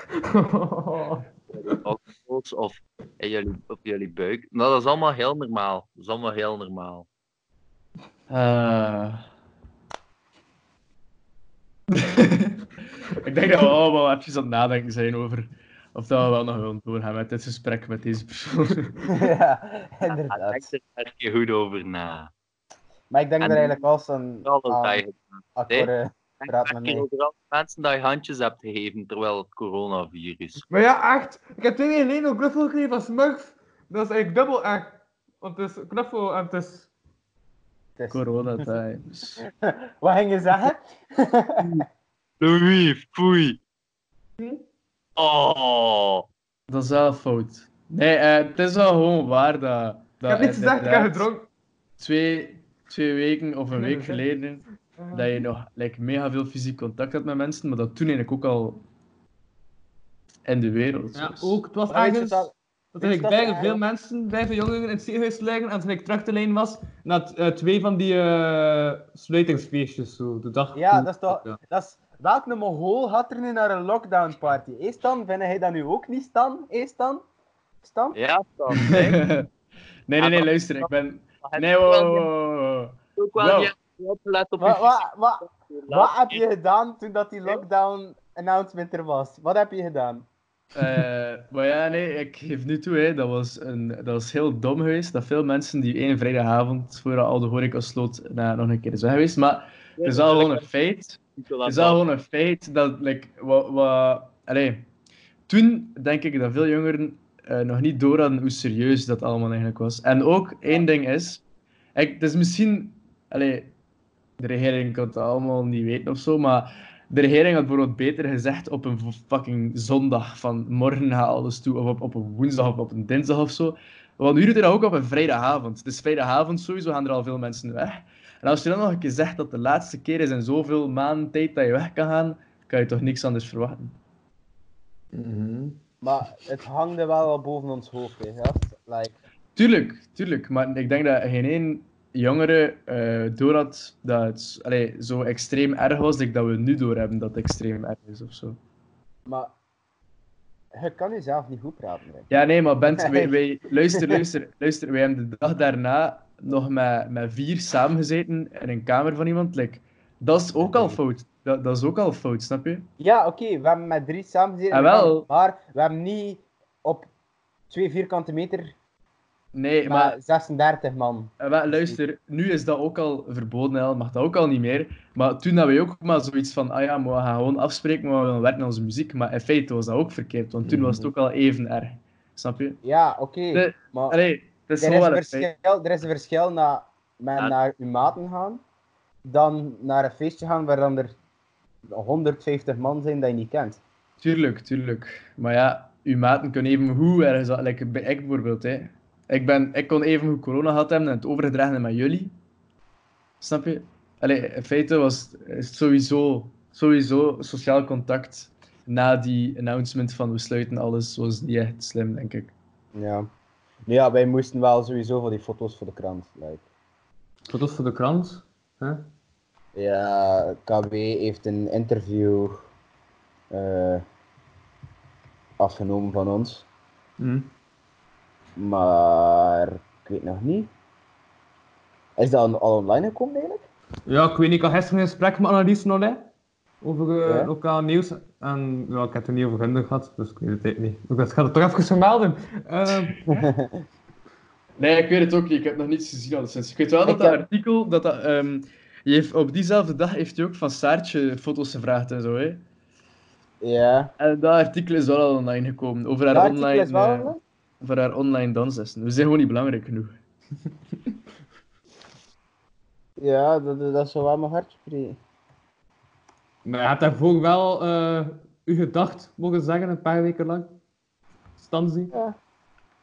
[SPEAKER 6] oksels of in jullie, op jullie buik. Nou, dat is allemaal heel normaal. Dat is allemaal heel normaal.
[SPEAKER 5] Ah. ik denk dat we allemaal even aan het nadenken zijn over of dat we wel nog willen doorgaan met dit gesprek met deze persoon.
[SPEAKER 3] ja,
[SPEAKER 6] Ja, Denk
[SPEAKER 3] inderdaad.
[SPEAKER 6] er net keer goed over na.
[SPEAKER 3] Maar ik denk
[SPEAKER 6] En-
[SPEAKER 3] er eigenlijk wel zo'n
[SPEAKER 6] Alles dat je
[SPEAKER 3] aan akkoorden... praat
[SPEAKER 6] Denk
[SPEAKER 3] met
[SPEAKER 6] je
[SPEAKER 3] mij.
[SPEAKER 6] over alle mensen dat je handjes hebt gegeven terwijl het coronavirus.
[SPEAKER 4] Maar ja, echt. Ik heb twee weken geleden ook knuffel gekregen van Smurfs. Dat is eigenlijk dubbel echt. Want het is knuffel en het is...
[SPEAKER 3] het is.
[SPEAKER 5] Corona times.
[SPEAKER 3] Wat ging je zeggen?
[SPEAKER 6] Louis, foei. Oh.
[SPEAKER 5] Dat is wel fout. Nee, eh, het is wel gewoon waar dat...
[SPEAKER 4] Ik
[SPEAKER 5] dat
[SPEAKER 4] heb niets gezegd, ik heb
[SPEAKER 5] inderdaad
[SPEAKER 4] gedronken.
[SPEAKER 5] Twee, twee weken of een
[SPEAKER 4] Nee,
[SPEAKER 5] week
[SPEAKER 4] dat is-
[SPEAKER 5] geleden dat je nog like, mega veel fysiek contact had met mensen, maar dat toen eigenlijk ook al in de wereld
[SPEAKER 4] Ja,
[SPEAKER 5] was.
[SPEAKER 4] ook. Het was
[SPEAKER 3] Maar weet je
[SPEAKER 4] ergens
[SPEAKER 3] dat-
[SPEAKER 4] dat,
[SPEAKER 3] weet je
[SPEAKER 4] er
[SPEAKER 3] dat
[SPEAKER 4] bijna
[SPEAKER 3] er
[SPEAKER 4] Dus veel mensen, bij veel jongeren in het ziekenhuis liggen en toen ik terug te leen was, na t- eh, twee van die eh, sluitingsfeestjes zo, de dag.
[SPEAKER 3] Ja,
[SPEAKER 4] toen.
[SPEAKER 3] dat is toch-
[SPEAKER 4] Ja.
[SPEAKER 3] Dat is, welke Mongool gaat er nu naar een lockdown party? Hé Stan, vind jij dat nu ook niet Stan? Hé Stan? Stan?
[SPEAKER 6] Ja, dan.
[SPEAKER 5] nee, nee, nee, luister, ik ben... Nee, wow, wow, wow, wow.
[SPEAKER 6] Ook wel
[SPEAKER 5] Wow.
[SPEAKER 6] die die oplet op
[SPEAKER 3] Wat,
[SPEAKER 6] je
[SPEAKER 3] wat, wat, wat heb je gedaan toen dat die lockdown announcement er was? Wat heb je gedaan?
[SPEAKER 5] Eh, maar ja, nee, ik geef nu toe, hè, dat, was een, dat was heel dom geweest. Dat veel mensen die één vrijdagavond voor al de horeca sloot na, nog een keer zijn geweest. Maar het is al gewoon een feit. Het is al gewoon een feit dat, like, wat, wat, allee, toen denk ik dat veel jongeren eh, nog niet door hadden hoe serieus dat allemaal eigenlijk was. En ook één ding is, ik, het is misschien, allee, de regering kan het allemaal niet weten of zo, maar de regering had bijvoorbeeld beter gezegd op een fucking zondag van morgen gaat alles toe, of op, op een woensdag of op een dinsdag of zo. Want nu doet hij dat ook op een vrijdagavond. Dus vrijdagavond sowieso gaan er al veel mensen weg. En als je dan nog een keer zegt dat de laatste keer is in zoveel maanden tijd dat je weg kan gaan, kan je toch niks anders verwachten.
[SPEAKER 3] Maar het hangde wel al boven ons hoofd, hè, gast. Like,
[SPEAKER 5] Tuurlijk, tuurlijk. Maar ik denk dat geen één jongere eh door had dat het allee, zo extreem erg was, denk ik dat we nu door hebben dat het extreem erg is of zo.
[SPEAKER 3] maar je kan jezelf niet goed praten. Hè.
[SPEAKER 5] Ja, nee, maar Bent, wij, wij- luister, luister, luister. Wij hebben de dag daarna nog met, met vier samengezeten in een kamer van iemand. Like, dat is ook al fout. Dat, dat is ook al fout, snap je?
[SPEAKER 3] Ja, oké, we hebben met drie samen gezeten,
[SPEAKER 5] Ah, wel.
[SPEAKER 3] maar we hebben niet op twee vierkante meter
[SPEAKER 5] Nee,
[SPEAKER 3] maar
[SPEAKER 5] maar
[SPEAKER 3] 36 man.
[SPEAKER 5] Eh, wel, luister, nu is dat ook al verboden, hè, mag dat ook al niet meer. Maar toen hadden we ook maar zoiets van, ah ja, maar we gaan gewoon afspreken, maar we willen werken aan onze muziek. Maar in feite was dat ook verkeerd, want toen was het ook al even erg. Snap je?
[SPEAKER 3] Ja, oké,
[SPEAKER 5] De-
[SPEAKER 3] maar...
[SPEAKER 5] Allee, het is
[SPEAKER 3] Er
[SPEAKER 5] gewoon
[SPEAKER 3] is,
[SPEAKER 5] wel
[SPEAKER 3] een
[SPEAKER 5] een Ah. feit.
[SPEAKER 3] verschil, er is een verschil na, met
[SPEAKER 6] Ja.
[SPEAKER 3] naar uw maten gaan, dan naar een feestje gaan waar dan er 150 man zijn dat je niet kent.
[SPEAKER 5] Tuurlijk, tuurlijk. Maar ja, uw maten kunnen even hoe ergens... Like, bij- ik bijvoorbeeld, hè. Ik, ben, ik kon even hoe corona gehad hebben en het overgedragen hebben met jullie. Snap je? Allee, in feite was, is het sowieso, sowieso sociaal contact na die announcement van we sluiten alles, was niet echt slim, denk ik.
[SPEAKER 3] Ja. Nou ja, wij moesten wel sowieso voor die foto's voor de krant. like.
[SPEAKER 4] Wat was voor de krant? Huh?
[SPEAKER 3] Ja, KB heeft een interview eh, afgenomen van ons,
[SPEAKER 4] Hm.
[SPEAKER 3] maar ik weet nog niet. Is dat al online gekomen eigenlijk?
[SPEAKER 4] Ja, ik weet niet, ik had gisteren een gesprek met Annelies nog, hè. Over eh,
[SPEAKER 3] Ja?
[SPEAKER 4] lokaal nieuws. En ja, ik heb het niet over Gunder gehad, dus ik weet het eigenlijk niet. Ik dacht, ik ga het toch even vermelden. Eh,
[SPEAKER 5] Nee, ik weet het ook niet. Ik heb nog niets gezien al sinds. Ik weet wel dat
[SPEAKER 3] Ik
[SPEAKER 5] dat
[SPEAKER 3] heb-
[SPEAKER 5] artikel, dat dat... ehm, je heeft, op diezelfde dag heeft hij ook van Saartje foto's gevraagd en zo, hè.
[SPEAKER 3] Ja.
[SPEAKER 5] En dat artikel is wel al online gekomen, over haar
[SPEAKER 3] Dat artikel
[SPEAKER 5] online...
[SPEAKER 3] is wel
[SPEAKER 5] eh,
[SPEAKER 3] online?
[SPEAKER 5] voor haar online danslessen. We zijn gewoon niet belangrijk genoeg.
[SPEAKER 3] Ja, dat, dat dat zou wel mijn hartje spreken.
[SPEAKER 4] Maar je hebt daarvoor wel eh uw gedacht mogen zeggen, een paar weken lang. Stanzi.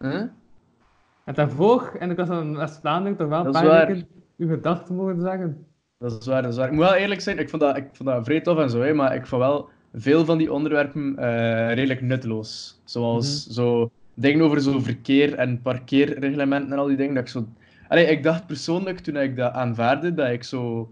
[SPEAKER 4] Je hebt daarvoor, en ik was aan West-Vlaanderen, toch wel een
[SPEAKER 5] Dat is
[SPEAKER 4] paar
[SPEAKER 5] waar.
[SPEAKER 4] weken uw gedacht mogen zeggen.
[SPEAKER 5] Dat is waar, dat is waar. Ik moet wel eerlijk zijn, ik vond dat, ik vond dat vrij tof en zo, hè, maar ik vond wel veel van die onderwerpen eh, redelijk nutteloos. Zoals zo dingen over zo verkeer en parkeerreglementen en al die dingen. Dat ik, zo... Allee, ik dacht persoonlijk, toen ik dat aanvaarde, dat ik zo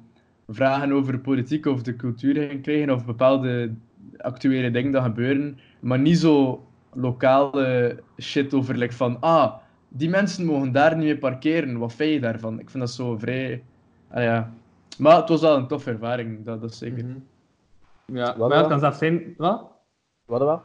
[SPEAKER 5] vragen over politiek of de cultuur ging krijgen of bepaalde actuele dingen dat gebeuren, maar niet zo lokale shit over like, van ah, die mensen mogen daar niet meer parkeren, wat vind je daarvan? Ik vind dat zo vrij... Ah, ja. Maar het was wel een toffe ervaring,
[SPEAKER 4] Mhm.
[SPEAKER 5] dat, dat is zeker.
[SPEAKER 4] Ja,
[SPEAKER 3] Wat
[SPEAKER 4] maar het
[SPEAKER 3] dan?
[SPEAKER 4] kan zelfs zijn... Wat?
[SPEAKER 3] Wat wel?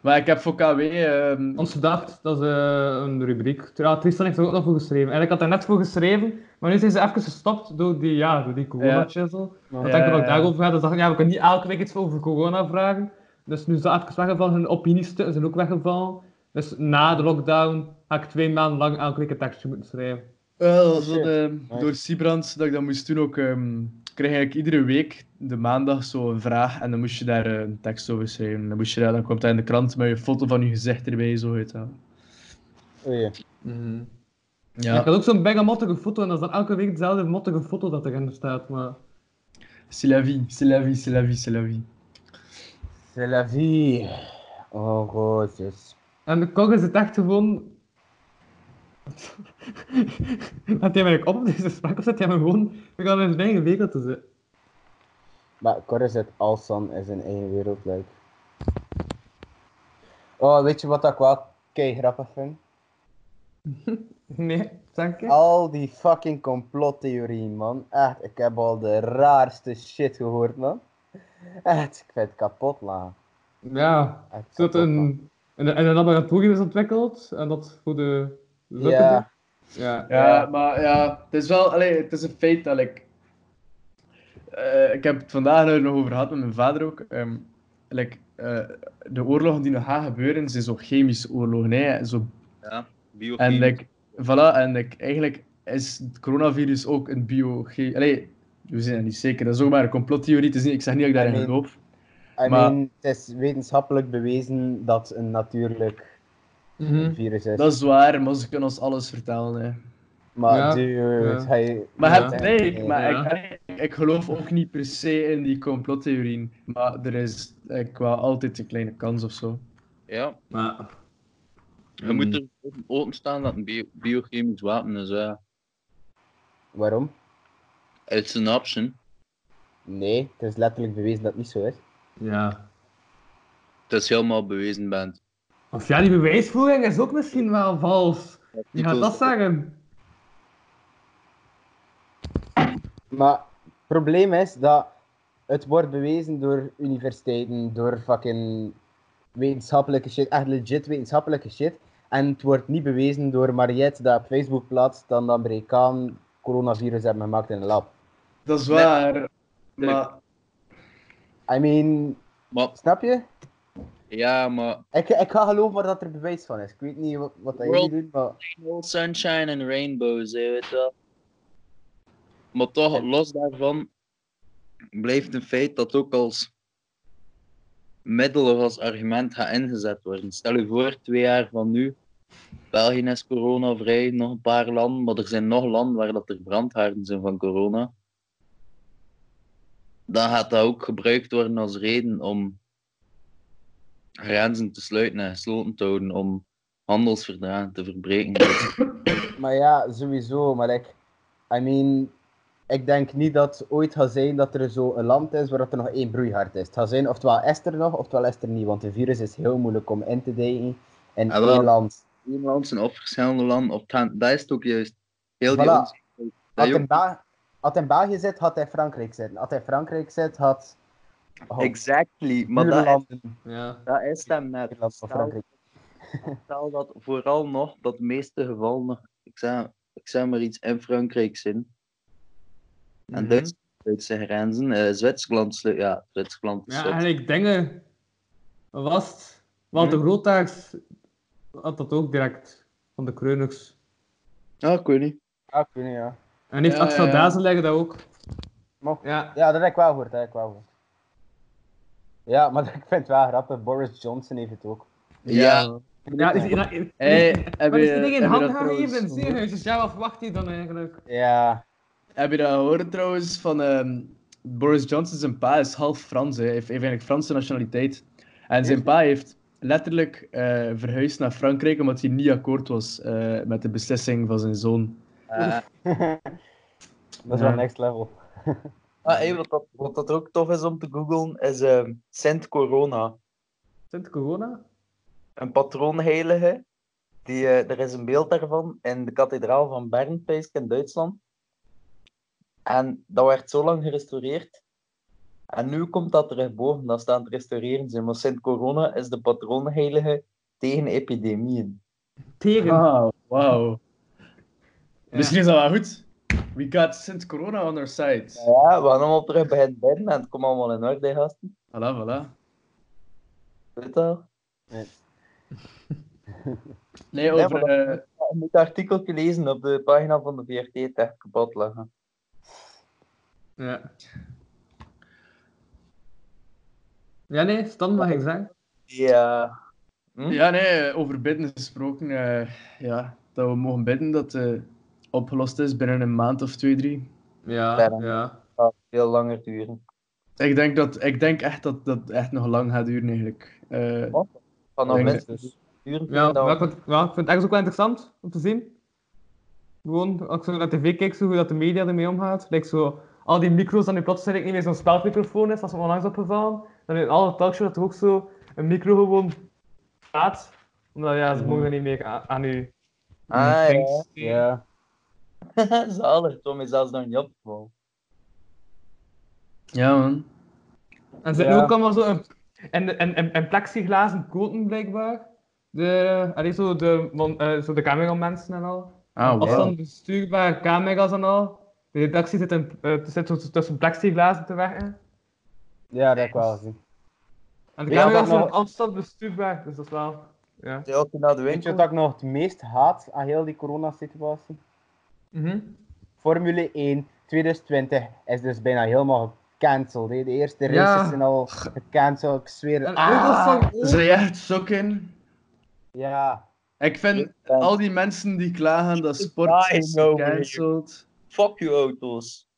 [SPEAKER 5] Maar ik heb voor KW... ehm,
[SPEAKER 4] Ons gedacht, dat is eh, een rubriek. Ja, Tristan heeft er ook nog voor geschreven. En ik had er net voor geschreven, maar nu zijn ze even gestopt door die, ja, door die corona-chisel.
[SPEAKER 5] ja,
[SPEAKER 4] Ik denk dat
[SPEAKER 5] ja,
[SPEAKER 4] ik daarover ga, dus dacht ik, ja, we kunnen niet elke week iets over corona vragen. Dus nu is dat even weggevallen, hun opiniestukken zijn ook weggevallen. Dus na de lockdown ga ik twee maanden lang elke week een tekstje moeten schrijven.
[SPEAKER 5] Wel, dat is wat, eh,
[SPEAKER 3] Nice.
[SPEAKER 5] door Sibrand dat ik dat moest doen ook. ehm kreeg ik iedere week de maandag zo een vraag en dan moest je daar eh, een tekst over schrijven. Dan, moest je daar, dan kwam dat in de krant met je foto van je gezicht erbij zo uit. Ja.
[SPEAKER 3] Oei.
[SPEAKER 6] Mhm.
[SPEAKER 4] Ik
[SPEAKER 5] ja.
[SPEAKER 4] had ook zo'n mega mottige foto en dat is dan elke week dezelfde mottige foto dat erin staat. Maar
[SPEAKER 5] C'est la vie, c'est la vie, c'est la vie, c'est la vie.
[SPEAKER 3] C'est la vie. Oh, roses.
[SPEAKER 4] En de kok is het echt gewoon. Laat jij mij eigenlijk op dus deze spraak of zet jij me gewoon. We gaan in zijn eigen wereld te zitten.
[SPEAKER 3] Maar Cor is het Alsan is een eigen wereld, like. Oh, weet je wat ik wel kei grappig vind?
[SPEAKER 4] Nee, dank je.
[SPEAKER 3] Al die fucking complottheorieën, man. Echt, ik heb al de raarste shit gehoord, man. Echt, ik vind het kapot, la.
[SPEAKER 4] Ja,
[SPEAKER 3] Echt
[SPEAKER 4] is dat
[SPEAKER 3] kapot, la.
[SPEAKER 4] een, een, een laboratorium is ontwikkeld en dat voor de. lukken doet.
[SPEAKER 3] Ja,
[SPEAKER 4] ja.
[SPEAKER 5] Ja, maar ja, het is wel, allee, het is een feit dat ik. eh, ik heb het vandaag er nog over gehad met mijn vader ook. ehm, like, eh, de oorlogen die nog gaan gebeuren zijn zo chemische oorlogen. Hè, zo
[SPEAKER 6] Ja,
[SPEAKER 5] En
[SPEAKER 6] biochemie.
[SPEAKER 5] like, voilà, en like, eigenlijk is het coronavirus ook een bio... Allee, we zijn het niet zeker, dat is ook maar een complottheorie te zien. Ik zeg niet dat ik daarin
[SPEAKER 3] I mean-
[SPEAKER 5] geloof.
[SPEAKER 3] I
[SPEAKER 5] maar-
[SPEAKER 3] mean, het is wetenschappelijk bewezen dat een natuurlijk
[SPEAKER 4] Mhm.
[SPEAKER 3] virus is.
[SPEAKER 5] Dat is waar, maar ze kunnen ons alles vertellen. Hè.
[SPEAKER 3] Maar
[SPEAKER 4] Ja,
[SPEAKER 3] dude,
[SPEAKER 4] ja.
[SPEAKER 3] hij...
[SPEAKER 5] Maar
[SPEAKER 4] Ja.
[SPEAKER 5] het, nee, maar
[SPEAKER 4] Ja.
[SPEAKER 5] ik, allee, ik, geloof ook niet per se in die complottheorieën. Maar er is eh, qua altijd een kleine kans of zo.
[SPEAKER 6] Ja,
[SPEAKER 4] Maar,
[SPEAKER 6] je moet er open- openstaan dat een bio- biochemisch wapen is. Ja.
[SPEAKER 3] Waarom?
[SPEAKER 6] It's an option.
[SPEAKER 3] Nee, het is letterlijk bewezen dat het niet zo is.
[SPEAKER 4] ja.
[SPEAKER 6] Het is helemaal bewezen, bent.
[SPEAKER 4] Of ja, die bewijsvoering is ook misschien wel vals. Je gaat dat zeggen.
[SPEAKER 3] Maar het probleem is dat het wordt bewezen door universiteiten, door fucking wetenschappelijke shit, echt legit wetenschappelijke shit. En het wordt niet bewezen door Mariette dat op Facebook plaatst dat de Amerikaan coronavirus hebben gemaakt in een lab.
[SPEAKER 5] Dat is waar, maar...
[SPEAKER 3] I mean,
[SPEAKER 6] Maar,
[SPEAKER 3] snap je?
[SPEAKER 6] ja, maar
[SPEAKER 3] Ik, ik ga geloven waar dat er bewijs van is. Ik weet niet wat, wat dat jullie
[SPEAKER 6] World-
[SPEAKER 3] doen, maar
[SPEAKER 6] all sunshine and rainbows, hè, weet je wel. Maar toch, los daarvan, blijft een feit dat ook als middel of als argument gaat ingezet worden. Stel je voor, twee jaar van nu, België is coronavrij, nog een paar landen, maar er zijn nog landen waar dat er brandhaarden zijn van corona. Dan gaat dat ook gebruikt worden als reden om grenzen te sluiten en gesloten te houden, om handelsverdragen te verbreken.
[SPEAKER 3] Maar ja, sowieso. Maar ik, I mean, ik denk niet dat het ooit gaat zijn dat er zo een land is waar dat er nog één broeihard is. Het gaat zijn oftewel is er nog, oftewel is er niet. Want een virus is heel moeilijk om in te delen in
[SPEAKER 6] Ah, wel.
[SPEAKER 3] één land.
[SPEAKER 6] Nederland zijn op verschillende landen op gaan. Dat is het ook juist. Heel die
[SPEAKER 3] Voilà.
[SPEAKER 6] onzekerheid. Dat
[SPEAKER 3] Had
[SPEAKER 6] je
[SPEAKER 3] in,
[SPEAKER 6] ook-
[SPEAKER 3] Ba- had in België zit, had hij Frankrijk zitten. Had hij Frankrijk zit, had... Oh,
[SPEAKER 6] Exactly, maar dat is,
[SPEAKER 3] buurlanden,
[SPEAKER 4] Ja.
[SPEAKER 6] dat is hem net.
[SPEAKER 3] Nederland of
[SPEAKER 6] Stel,
[SPEAKER 3] Frankrijk.
[SPEAKER 6] stel dat vooral nog dat de meeste gevallen nog, ik zeg, ik zeg maar iets, in Frankrijk zijn. En Duits- Duitse grenzen, eh, Zwitserland, slu- ja, Zwitserland is
[SPEAKER 4] Ja,
[SPEAKER 6] zot.
[SPEAKER 4] en ik denk, eh, was het, want de
[SPEAKER 5] Hm?
[SPEAKER 4] Grootaars had dat ook direct van de Kreuners.
[SPEAKER 6] Ja, ik weet niet.
[SPEAKER 3] Ja, ik weet niet, ja.
[SPEAKER 4] En heeft
[SPEAKER 5] Ja,
[SPEAKER 4] Axel
[SPEAKER 5] ja.
[SPEAKER 4] Dazen leggen dat ook?
[SPEAKER 3] Mocht.
[SPEAKER 4] Ja.
[SPEAKER 3] Ja, dat heb ik wel gehoord, dat heb ik wel gehoord. Ja, maar ik vind het wel grappig. Boris Johnson heeft het ook.
[SPEAKER 6] Ja.
[SPEAKER 4] Ja, is, dat- is-
[SPEAKER 5] Hey, heb
[SPEAKER 4] maar is die
[SPEAKER 5] je- heb
[SPEAKER 4] ding
[SPEAKER 5] je
[SPEAKER 4] in hand
[SPEAKER 5] dat
[SPEAKER 4] gaan
[SPEAKER 5] trouwens
[SPEAKER 4] geven in het
[SPEAKER 5] gehoord?
[SPEAKER 4] ziekenhuis? Dus ja, wat verwacht hij dan eigenlijk?
[SPEAKER 3] Ja.
[SPEAKER 5] Heb je dat gehoord trouwens van ehm, Boris Johnson? Zijn pa is half Frans, hè. hij heeft heeft eigenlijk Franse nationaliteit. En zijn pa heeft letterlijk eh, verhuisd naar Frankrijk omdat hij niet akkoord was eh, met de beslissing van zijn zoon.
[SPEAKER 6] Eh,
[SPEAKER 3] Dat is
[SPEAKER 5] Ja.
[SPEAKER 3] wel next level.
[SPEAKER 6] ah, hey, wat, dat, wat dat ook tof is om te googlen, is ehm Sint Corona.
[SPEAKER 4] Sinds corona?
[SPEAKER 6] een patroonheilige. Die, eh, er is een beeld daarvan in de kathedraal van Bern, Pijsk in Duitsland. En dat werd zo lang gerestaureerd En nu komt dat terug boven, dat staat het restaureren zijn. Maar sinds corona is de patroonheilige tegen epidemieën.
[SPEAKER 4] Tegen.
[SPEAKER 5] Ah, wauw.
[SPEAKER 4] Ja.
[SPEAKER 5] Misschien is dat wel goed. We got since corona on our side.
[SPEAKER 6] Ja, we gaan allemaal terug bij het bidden en het komt allemaal in orde, gasten.
[SPEAKER 5] Voilà, voilà.
[SPEAKER 6] Weet dat?
[SPEAKER 5] Nee,
[SPEAKER 6] Nee,
[SPEAKER 5] over...
[SPEAKER 6] maar
[SPEAKER 5] eh,
[SPEAKER 6] Ja, Je moet het artikeltje lezen op de pagina van de VRT, Tech kapot leggen.
[SPEAKER 4] Ja. Ja, nee, Stan mag ik zeggen.
[SPEAKER 6] Ja.
[SPEAKER 5] Ja, nee, eh, over bidden gesproken. eh, ja, dat we mogen bidden dat eh opgelost is binnen een maand of twee, drie.
[SPEAKER 4] Ja,
[SPEAKER 6] Verder.
[SPEAKER 4] ja.
[SPEAKER 6] gaat veel langer duren.
[SPEAKER 5] Ik denk, dat, ik denk echt dat dat echt nog lang gaat duren, eigenlijk. Eh,
[SPEAKER 6] Wat? Vanaf
[SPEAKER 5] Ik denk
[SPEAKER 6] mensen
[SPEAKER 5] dus-
[SPEAKER 6] duren
[SPEAKER 4] Ja,
[SPEAKER 6] dan-
[SPEAKER 4] maar ik, vind, ja, ik vind het ergens ook wel interessant om te zien. Gewoon, als ik zo naar tv kijk, zo, hoe dat de media ermee omgaat. Like zo, al die micro's dat nu plotseling niet meer zo'n speldmicrofoon is, als ze onlangs opgevallen. Dan in alle talkshows dat er ook zo een micro gewoon gaat. Omdat ja, ze mogen er niet meer aan, aan je
[SPEAKER 6] Ah, ja.
[SPEAKER 3] Ja.
[SPEAKER 6] Zalig, Tom is zelfs nog niet opgevallen.
[SPEAKER 5] ja, man.
[SPEAKER 4] En ze hebben
[SPEAKER 3] Ja.
[SPEAKER 4] ook allemaal zo een, en, en, en, en plexiglazen koten blijkbaar. De, allee, zo de, van, eh, zo de cameramensen en al.
[SPEAKER 5] Ah, wauw.
[SPEAKER 4] Afstand bestuurbare camera's en al. De redactie zit, in, eh, zit zo tussen plexiglazen te werken.
[SPEAKER 3] ja, dat heb ik wel gezien.
[SPEAKER 4] En de
[SPEAKER 3] Weet je wat
[SPEAKER 4] camera's
[SPEAKER 3] nog-
[SPEAKER 4] zijn op afstand bestuurbaar, dus dat is wel... Ja.
[SPEAKER 6] Zij ook naar de
[SPEAKER 3] Weet je
[SPEAKER 6] winkel.
[SPEAKER 3] wat ik nog het meest haat aan heel die corona-situatie?
[SPEAKER 4] Mhm.
[SPEAKER 3] Formule 1 2020 is dus bijna helemaal gecanceld. hè. De eerste
[SPEAKER 4] Ja.
[SPEAKER 3] races zijn al gecanceld, ik zweer
[SPEAKER 4] En
[SPEAKER 3] het.
[SPEAKER 4] ook nog zo'n-
[SPEAKER 5] Zijn jij echt sokken?
[SPEAKER 3] Ja.
[SPEAKER 5] Ik vind al die mensen die klagen dat sport
[SPEAKER 6] I
[SPEAKER 5] is
[SPEAKER 6] know, man.
[SPEAKER 5] gecanceld.
[SPEAKER 6] Fuck je auto's.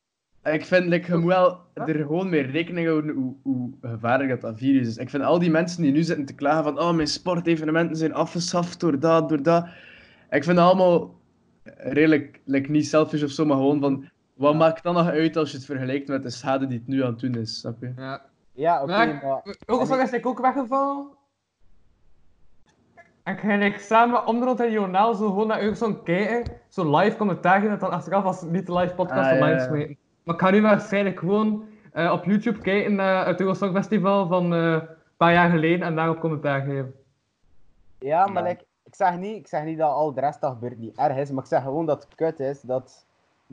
[SPEAKER 5] Ik vind, like, je moet wel er gewoon mee rekening houden hoe, hoe gevaarlijk dat, dat virus is. Ik vind al die mensen die nu zitten te klagen van oh, mijn sportevenementen zijn afgeschaft door dat, door dat. Ik vind dat allemaal redelijk, like, niet selfish of zo, maar gewoon van wat maakt dat nog uit als je het vergelijkt met de schade die het nu aan het doen is, snap je?
[SPEAKER 4] Ja.
[SPEAKER 3] Ja, oké,
[SPEAKER 4] Maar
[SPEAKER 3] maar...
[SPEAKER 4] ook nog zo'n is ik ook weggevallen. En ik ging like, samen onderhand en Jonaal zo gewoon naar Eurgen zo'n kijken. Zo'n live commentaar geven en dan achteraf was het niet de live podcast
[SPEAKER 5] Ah, ja,
[SPEAKER 4] online
[SPEAKER 5] ja.
[SPEAKER 4] smeten. Maar ik ga nu maar waarschijnlijk gewoon eh, op YouTube kijken naar het Eurosong Festival van eh, een paar jaar geleden en daarop commentaar geven.
[SPEAKER 3] Ja, maar
[SPEAKER 5] Ja.
[SPEAKER 3] like, ik, zeg niet, ik zeg niet dat al de rest dat gebeurt niet erg is, maar ik zeg gewoon dat het kut is dat het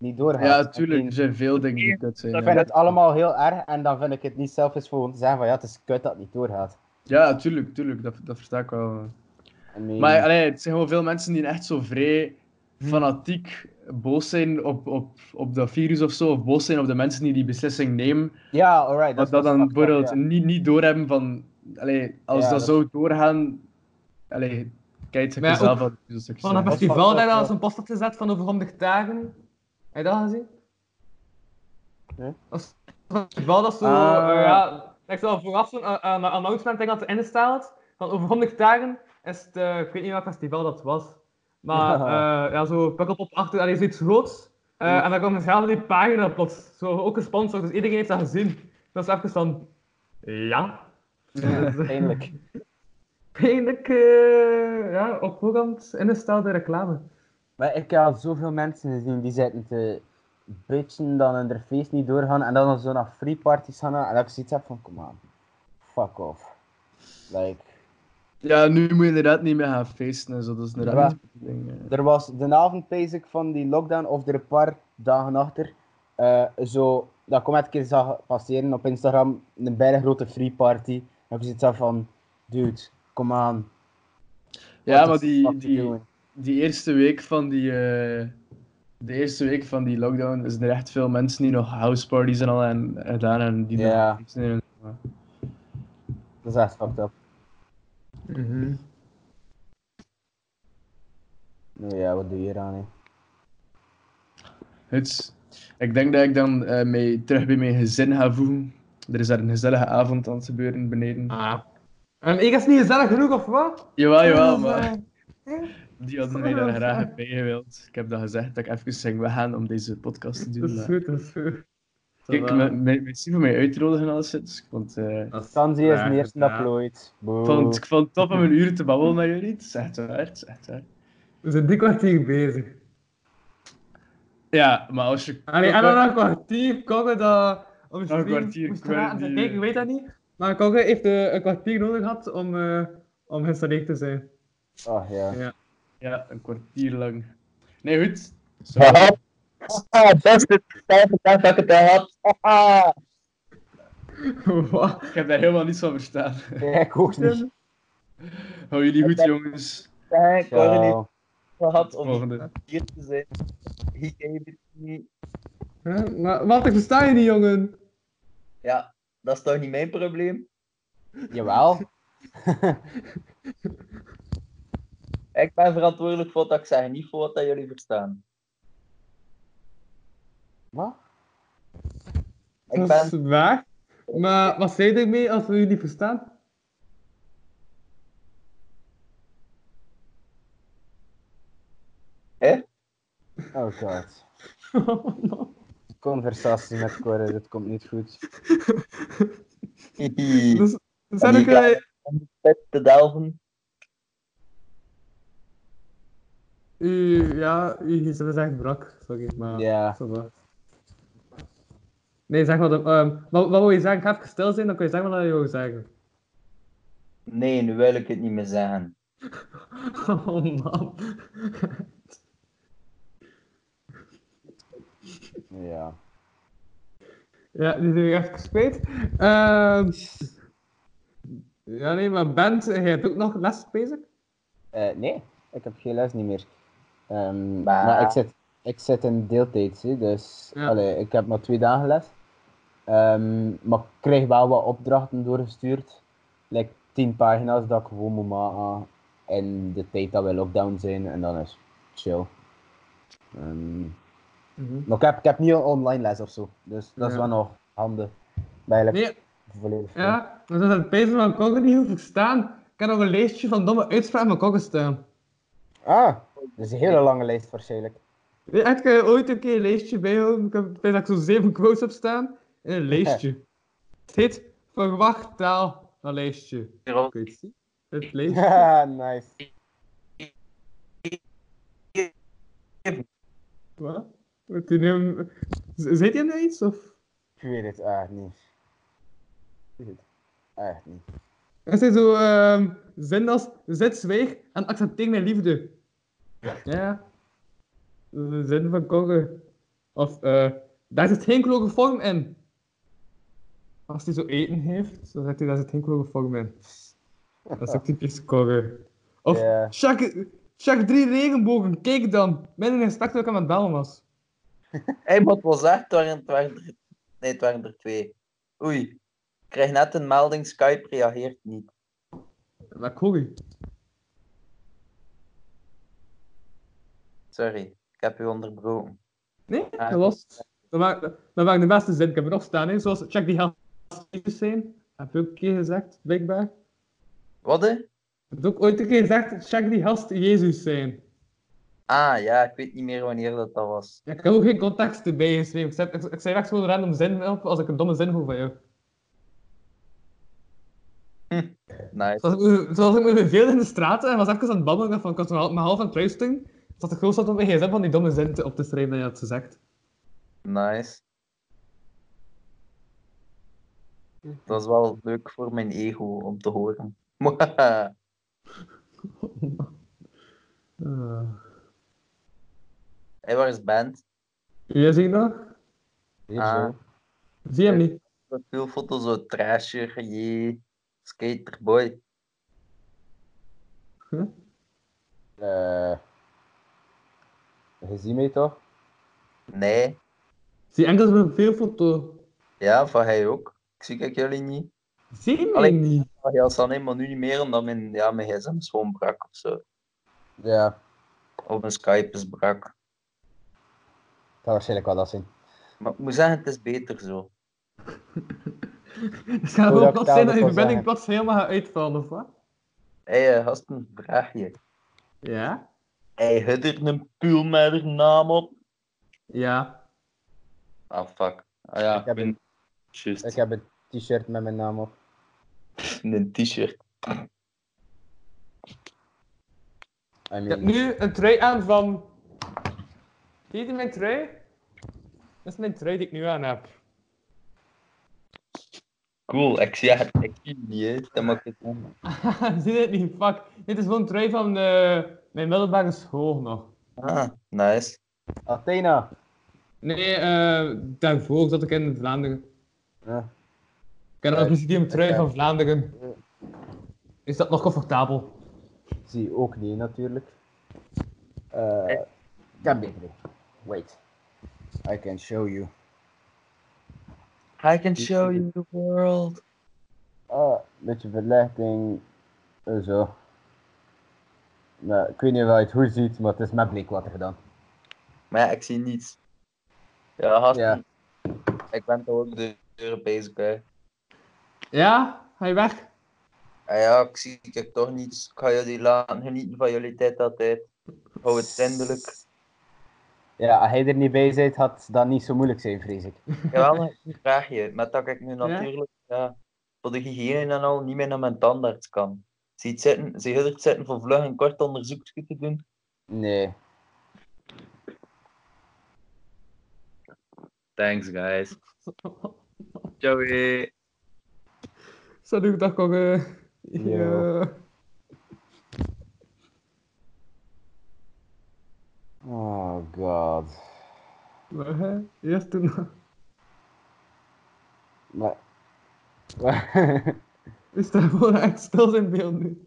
[SPEAKER 3] niet doorgaat.
[SPEAKER 5] Ja,
[SPEAKER 3] Ik
[SPEAKER 5] tuurlijk, er
[SPEAKER 3] vind-
[SPEAKER 5] zijn veel dingen die kut zijn.
[SPEAKER 3] Ik vind
[SPEAKER 5] Ja,
[SPEAKER 3] het allemaal heel erg en dan vind ik het niet zelf eens voor om te zeggen van ja, het is kut dat het niet doorgaat.
[SPEAKER 5] ja tuurlijk, tuurlijk, dat, dat versta ik wel.
[SPEAKER 3] I mean,
[SPEAKER 5] Maar eh, allee, het zijn gewoon veel mensen die echt zo vrij
[SPEAKER 3] Hmm.
[SPEAKER 5] fanatiek boos zijn op, op, op dat virus of zo, of boos zijn op de mensen die die beslissing nemen,
[SPEAKER 3] ja, alright.
[SPEAKER 5] dat,
[SPEAKER 3] is-
[SPEAKER 5] dat
[SPEAKER 3] is
[SPEAKER 5] dan
[SPEAKER 3] fucked up,
[SPEAKER 5] bijvoorbeeld
[SPEAKER 3] ja.
[SPEAKER 5] niet, niet doorhebben van, allee, als
[SPEAKER 3] Ja,
[SPEAKER 5] dat,
[SPEAKER 3] dat-
[SPEAKER 5] zou doorgaan, allee, kijk
[SPEAKER 4] Maar
[SPEAKER 5] het
[SPEAKER 4] ja,
[SPEAKER 5] zelf
[SPEAKER 4] ook
[SPEAKER 5] aan. Dus ik
[SPEAKER 4] Van een
[SPEAKER 5] zeg-
[SPEAKER 3] Oh, was
[SPEAKER 4] festival
[SPEAKER 3] fucked
[SPEAKER 4] daar
[SPEAKER 3] up,
[SPEAKER 4] al
[SPEAKER 3] ja.
[SPEAKER 4] zo'n post op gezet van over 100 dagen. Heb je dat gezien?
[SPEAKER 3] Nee.
[SPEAKER 4] Dat is een festival dat zo,
[SPEAKER 5] Ah.
[SPEAKER 4] eh, ja, dat ik zo vooraf zo'n eh, eh, announcement denk dat erin staat. Van over 100 dagen is het, eh, ik weet niet welk festival dat was. Maar
[SPEAKER 3] Ja.
[SPEAKER 4] eh, ja, zo pukkelpop achter, allee, zoiets groots. Eh,
[SPEAKER 3] Ja.
[SPEAKER 4] En dan kwam dezelfde die pagina plots. Zo, ook gesponsord, dus iedereen heeft dat gezien. Dat is even van, ja.
[SPEAKER 3] Eindelijk.
[SPEAKER 4] Pijnlijk, eh, ja, op voorhand ingestelde reclame.
[SPEAKER 3] Maar ik heb al zoveel mensen gezien die zitten te bitchen dan hun er feest niet doorgaan en dan nog zo naar free parties gaan en dat ik zoiets heb van, kom aan, fuck off. Like,
[SPEAKER 5] Ja, nu moet je inderdaad niet meer gaan feesten en zo, dat is
[SPEAKER 3] Ja.
[SPEAKER 5] inderdaad niet het ding, eh.
[SPEAKER 3] Er was de avond basic van die lockdown, of er een paar dagen achter, eh, zo, dat ik het een keer zag passeren op Instagram, een bijna grote free party. En ik zit daar van, dude, kom aan.
[SPEAKER 5] Ja, maar die, die, die eerste week van die... eh, de eerste week van die lockdown is er echt veel mensen die nog houseparties en al en gedaan en die nog
[SPEAKER 3] Ja.
[SPEAKER 5] feesten en-
[SPEAKER 3] Dat is echt fucked up. Nou ja, wat doe je eraan, hè?
[SPEAKER 5] Huts. Ik denk dat ik dan eh, mij terug bij mijn gezin ga voegen. Er is daar een gezellige avond aan het gebeuren
[SPEAKER 6] Ah.
[SPEAKER 5] beneden.
[SPEAKER 4] Ah. En ik is niet gezellig genoeg, of wat?
[SPEAKER 5] Jawel, Ah, jawel,
[SPEAKER 4] Dus, eh,
[SPEAKER 5] maar die hadden mij daar graag bij gewild. Ik heb dat gezegd dat ik even ging weggaan om deze podcast te
[SPEAKER 4] Dat
[SPEAKER 5] doen.
[SPEAKER 4] is
[SPEAKER 5] maar-
[SPEAKER 4] goed, dat is goed.
[SPEAKER 5] Kijk,
[SPEAKER 4] Voilà.
[SPEAKER 5] me- me- misschien voor mij uitnodigen en alles, Huts. Want eh, ik,
[SPEAKER 6] Oh.
[SPEAKER 4] Dat is
[SPEAKER 3] Sanzi is
[SPEAKER 4] graag
[SPEAKER 3] de eerste
[SPEAKER 4] gedaan.
[SPEAKER 3] dat plooit. Boe.
[SPEAKER 5] vond, ik vond het top om een uur te babbelen met jullie. Het is echt waar, het is echt waar.
[SPEAKER 4] We zijn drie kwartier bezig.
[SPEAKER 5] Ja, maar als je...
[SPEAKER 4] Allee, en dan een kwartier komen dat om je
[SPEAKER 5] Nog een
[SPEAKER 4] stream
[SPEAKER 5] kwartier
[SPEAKER 4] moest
[SPEAKER 5] kwijt
[SPEAKER 4] raden.
[SPEAKER 5] die,
[SPEAKER 4] Kijk, ik
[SPEAKER 5] eh.
[SPEAKER 4] weet dat niet. Maar Kogge heeft eh, een kwartier nodig gehad om, eh om geïnstalleerd te zijn.
[SPEAKER 3] Ach ja.
[SPEAKER 5] Ja, een kwartier lang. Nee, goed. Zo.
[SPEAKER 6] Haha. Haha, beste tijd dat ik het al had. Haha.
[SPEAKER 4] Wat?
[SPEAKER 5] Ik heb daar helemaal niets van verstaan.
[SPEAKER 3] Nee, ik ook niet.
[SPEAKER 5] Hou jullie goed, jongens.
[SPEAKER 6] Ja, Ik had er niet
[SPEAKER 3] Ciao.
[SPEAKER 6] gehad om
[SPEAKER 5] Volgende.
[SPEAKER 6] hier te zijn. Hier heb ik niet.
[SPEAKER 4] Huh? Maar wat, ik versta je niet, jongen.
[SPEAKER 6] Ja, dat is toch niet mijn probleem?
[SPEAKER 3] Jawel.
[SPEAKER 6] Ik ben verantwoordelijk voor wat ik zeg, niet voor wat dat jullie verstaan.
[SPEAKER 3] Wat?
[SPEAKER 6] Ik
[SPEAKER 4] dat is
[SPEAKER 6] ben...
[SPEAKER 4] waar. Maar wat zei je ermee als we jullie niet verstaan?
[SPEAKER 3] Oh god.
[SPEAKER 4] Oh,
[SPEAKER 3] Conversatie met Corre, dit komt niet goed.
[SPEAKER 4] dus, zijn
[SPEAKER 6] die
[SPEAKER 4] ook, eh,
[SPEAKER 6] Om de pet te delven.
[SPEAKER 4] u, ja, u gsm is echt brak. Sorry, maar...
[SPEAKER 3] Ja.
[SPEAKER 4] ça va. Nee, zeg maar... dat- ehm, wat, wat wil je zeggen? Ga even stil zijn, dan kun je zeggen wat je wil zeggen.
[SPEAKER 6] Nee, nu wil ik het niet meer zeggen.
[SPEAKER 4] Oh man.
[SPEAKER 3] Ja.
[SPEAKER 4] Ja, die zijn echt gespeeld. Ehm, ja, nee, maar Bent, jij hebt ook nog les bezig?
[SPEAKER 3] Eh, nee, ik heb geen les niet meer. Ehm,
[SPEAKER 6] Bah.
[SPEAKER 3] Maar ik zit, ik zit in deeltijd, hè, dus
[SPEAKER 4] Ja.
[SPEAKER 3] allee, ik heb maar twee dagen les. Ehm, maar ik krijg wel wat opdrachten doorgestuurd. Like tien pagina's dat ik gewoon moet maken in de tijd dat we lockdown zijn en dan is het chill. Ehm, maar ik heb, ik heb niet een online les of zo, dus dat is
[SPEAKER 4] Ja.
[SPEAKER 3] wel nog handig. Bijna
[SPEAKER 4] Nee,
[SPEAKER 3] volledig. vrij.
[SPEAKER 4] ja. Dat is het pezen van Koggen niet hoeven staan. Ik heb nog een lijstje van domme uitspraken van Koggen staan.
[SPEAKER 3] Ah, dat is een hele lange lijst waarschijnlijk.
[SPEAKER 4] Nee, echt, kan je eh, ooit een keer een lijstje bijhouden? Ik heb ik weet dat ik zo'n zeven quotes heb staan. In een lijstje. Het heet verwacht taal. Dat lijstje. Kun je het zien? Het lijstje.
[SPEAKER 3] Haha, nice.
[SPEAKER 4] Wat? Wat die neem- Z- Zit je nou iets? Of?
[SPEAKER 3] Ik weet het echt niet. Ik weet het Echt niet.
[SPEAKER 4] Er zijn zo ehm zin als zet zwijg en accepteer mijn liefde. Ja. Dat is een zin van Kogge. Of eh, daar zit geen chloroform in. Als hij zo eten heeft, dan zegt hij daar zit geen chloroform in. Dat is ook typisch Kogge. Of
[SPEAKER 3] Ja.
[SPEAKER 4] check, check drie regenbogen, kijk dan. Mijn respect dat ik aan het bellen was.
[SPEAKER 6] Hij moet wel zeggen, het waren, het waren er- nee, het waren er twee. Oei, ik krijg net een melding, Skype reageert niet.
[SPEAKER 4] Dat hoor je.
[SPEAKER 6] Sorry, ik heb u onderbroken.
[SPEAKER 4] Nee,
[SPEAKER 6] Ah,
[SPEAKER 4] dat was. Dat waren, dat waren de beste zin. Ik heb erop staan, hè. zoals check die gasten zijn. Heb je ook een keer gezegd, blijkbaar.
[SPEAKER 6] Wat? hè?
[SPEAKER 4] Ik heb ook ooit een keer gezegd, check die gast Jezus zijn.
[SPEAKER 6] Ah ja, ik weet niet meer wanneer dat, dat was.
[SPEAKER 4] Ja, ik heb ook geen context erbij geschreven. Ik zei, ik, ik zei echt gewoon random zin op als ik een domme zin hoor van jou.
[SPEAKER 6] Nice.
[SPEAKER 4] Zoals ik, me- zoals ik me verveelde in de straat en was even aan het babbelen van ik was me half- me half aan het luisteren. Zat ik gewoon zat op mijn gsm van die domme zin te- op te schrijven dat je had gezegd.
[SPEAKER 6] Nice. Dat is wel leuk voor mijn ego om te horen.
[SPEAKER 4] Uh.
[SPEAKER 6] Hij waar is Band?
[SPEAKER 4] Ja, zie je nog?
[SPEAKER 3] Hier
[SPEAKER 6] Ah.
[SPEAKER 3] zo.
[SPEAKER 4] Zie je hem niet?
[SPEAKER 6] Profielfoto zo trasher, jee. Skaterboy.
[SPEAKER 3] Eh, je ziet mij toch?
[SPEAKER 6] Nee.
[SPEAKER 4] Zie je enkel zo'n veel foto?
[SPEAKER 6] Ja, van hij ook. Ik zie kijk jullie niet.
[SPEAKER 4] Zie je mij
[SPEAKER 6] Allee.
[SPEAKER 4] niet?
[SPEAKER 6] Maar ja, zal helemaal nu niet meer omdat mijn, ja, mijn gsm is gewoon brak of zo.
[SPEAKER 3] Ja,
[SPEAKER 6] Of mijn Skype is brak.
[SPEAKER 3] dat gaat waarschijnlijk wel dat zijn.
[SPEAKER 6] Maar ik moet zeggen, het is beter zo.
[SPEAKER 4] Het gaat
[SPEAKER 3] Hoe dat
[SPEAKER 4] wel
[SPEAKER 3] ik
[SPEAKER 4] plots
[SPEAKER 3] taal
[SPEAKER 4] zijn
[SPEAKER 3] moet
[SPEAKER 4] dat je
[SPEAKER 3] wel
[SPEAKER 4] verbinding
[SPEAKER 3] zeggen.
[SPEAKER 4] plots helemaal gaat uitvallen, of wat?
[SPEAKER 6] Hé, hey, eh, gast, een vraagje.
[SPEAKER 4] Ja?
[SPEAKER 6] Hij had er een puul met haar naam op.
[SPEAKER 4] Ja.
[SPEAKER 6] Ah, fuck. Ah ja,
[SPEAKER 3] Ik heb een,
[SPEAKER 6] juist.
[SPEAKER 3] ik heb een t-shirt met mijn naam op.
[SPEAKER 6] Een t-shirt.
[SPEAKER 3] I mean,
[SPEAKER 4] Ik heb nu een trui aan van. Zie je mijn trui? Dat is mijn trui die ik nu aan heb.
[SPEAKER 6] Cool, ik zie het. Ik zie het niet, hè. dat maakt het om.
[SPEAKER 4] Zie je het niet? Fuck. Dit is gewoon een trui van eh, mijn middelbare school nog.
[SPEAKER 6] Ah, nice.
[SPEAKER 3] Athena.
[SPEAKER 4] Nee, eh, daarvoor zat ik in Vlaanderen.
[SPEAKER 3] Ja.
[SPEAKER 4] Ik heb nog
[SPEAKER 3] Ja,
[SPEAKER 4] misschien een trui
[SPEAKER 3] ja.
[SPEAKER 4] van Vlaanderen. Is dat nog comfortabel?
[SPEAKER 3] Zie ook niet natuurlijk. Eh kan beter. Wait. I can show you.
[SPEAKER 6] I can show you the world.
[SPEAKER 3] Ah, beetje verlichting. Eh, Zo. Nou, ik weet niet of je het goed ziet, maar het is met bleekwater gedaan.
[SPEAKER 6] Maar ja, ik zie niets. Ja, gast.
[SPEAKER 3] Ja.
[SPEAKER 6] Ik ben toch ook de deuren bezig, hè.
[SPEAKER 4] Ja? Ga je weg?
[SPEAKER 6] Ah ja, ik zie ik heb toch niets. Ik ga jullie laten genieten van jullie tijd altijd. Hou het zindelijk.
[SPEAKER 3] Ja, als hij er niet bij zit, had dat niet zo moeilijk zijn, vrees ik.
[SPEAKER 6] Jawel, maar ik vraag je. Maar dat ik nu natuurlijk ja, voor de hygiëne en al niet meer naar mijn tandarts kan. Ze het zitten, ze heel het zitten voor vlug en kort onderzoek te doen.
[SPEAKER 3] Nee.
[SPEAKER 6] Thanks, guys. Joey.
[SPEAKER 4] Salut, dag Kogge.
[SPEAKER 3] Ja. Oh god.
[SPEAKER 4] Maar hè, eerst toen...
[SPEAKER 3] Maar...
[SPEAKER 4] Is daar gewoon echt stil zijn beeld nu?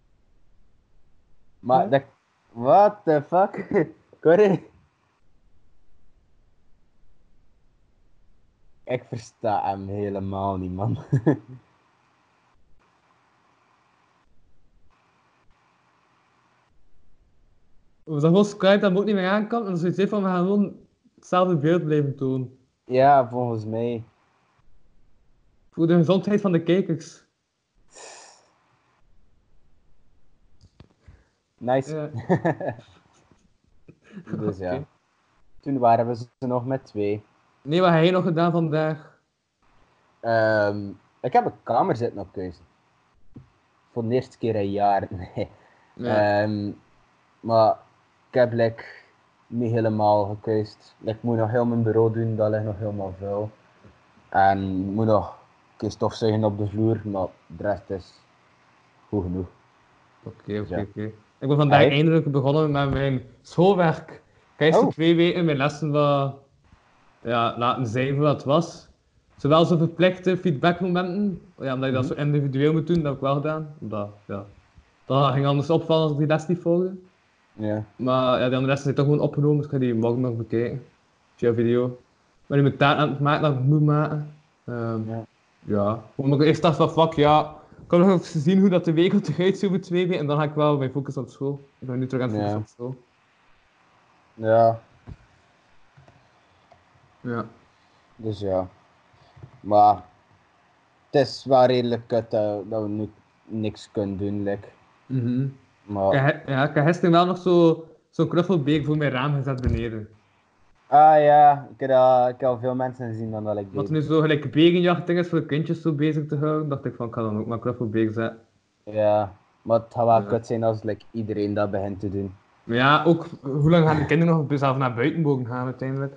[SPEAKER 3] maar dat... What the fuck? Corrie? Ik versta hem helemaal niet, man.
[SPEAKER 4] Was dat gewoon Skype dat me ook niet meer aan kan? En dan zoiets heeft van, we gaan gewoon hetzelfde beeld blijven tonen.
[SPEAKER 3] ja, volgens mij.
[SPEAKER 4] Voor de gezondheid van de kijkers.
[SPEAKER 3] Nice.
[SPEAKER 4] Ja.
[SPEAKER 3] dus ja.
[SPEAKER 4] Oké.
[SPEAKER 3] Toen waren we ze nog met twee.
[SPEAKER 4] Nee, wat heb je nog gedaan vandaag?
[SPEAKER 3] Ehm, ik heb een kamer zitten op keuze. Voor de eerste keer in jaren. Nee.
[SPEAKER 4] Ja.
[SPEAKER 3] Ehm, maar ik heb like, niet helemaal gekuist. Like, ik moet nog heel mijn bureau doen, dat ligt nog helemaal vuil. En ik moet nog een keer stofzuigen op de vloer, maar de rest is goed genoeg.
[SPEAKER 4] Oké, oké,
[SPEAKER 3] Ja.
[SPEAKER 4] oké. Ik ben vandaag
[SPEAKER 3] Hey.
[SPEAKER 4] eindelijk begonnen met mijn schoolwerk. Ik heb eerst
[SPEAKER 3] Oh.
[SPEAKER 4] de twee weken mijn lessen wat ja, laten zijn voor wat het was. Zowel zo verplichte feedbackmomenten, ja, omdat je
[SPEAKER 3] Mhm.
[SPEAKER 4] dat zo individueel moet doen, dat heb ik wel gedaan. Omdat, ja, dat ging anders opvallen als ik die les niet volgde.
[SPEAKER 3] Ja.
[SPEAKER 4] Maar ja, die andere lessen zijn toch gewoon opgenomen, dus ik ga die morgen nog bekijken. Via video. Maar nu mijn taart aan het maken, dat ik moet maken. Ehm,
[SPEAKER 3] Ja.
[SPEAKER 4] ja. Omdat ik eerst dacht van, fuck ja, ik kan nog even zien hoe dat de week eruit ziet over twee weken. En dan ga ik wel mijn focus op school. Ik ben nu terug aan het focussen
[SPEAKER 3] Ja.
[SPEAKER 4] op school.
[SPEAKER 3] ja,
[SPEAKER 4] Ja.
[SPEAKER 3] dus ja. Maar het is wel redelijk kut eh, dat, dat we nu niks kunnen doen. Like.
[SPEAKER 4] Mhm.
[SPEAKER 3] Maar,
[SPEAKER 4] Ik heb- ja, ik heb gisteren wel nog zo- zo'n knuffelbeek voor mijn raam gezet beneden.
[SPEAKER 3] Ah ja, ik heb, dat- ik heb al veel mensen zien van dat ik
[SPEAKER 4] Wat
[SPEAKER 3] deed.
[SPEAKER 4] nu zo gelijk begenjachting is voor de kindjes zo bezig te houden, dacht ik van, ik ga dan ook maar knuffelbeek zetten.
[SPEAKER 3] Ja, maar het gaat wel
[SPEAKER 4] Ja.
[SPEAKER 3] kut zijn als like, iedereen dat begint te doen.
[SPEAKER 4] Maar ja, ook, hoe lang gaan de kinderen nog zelf naar buiten mogen gaan uiteindelijk?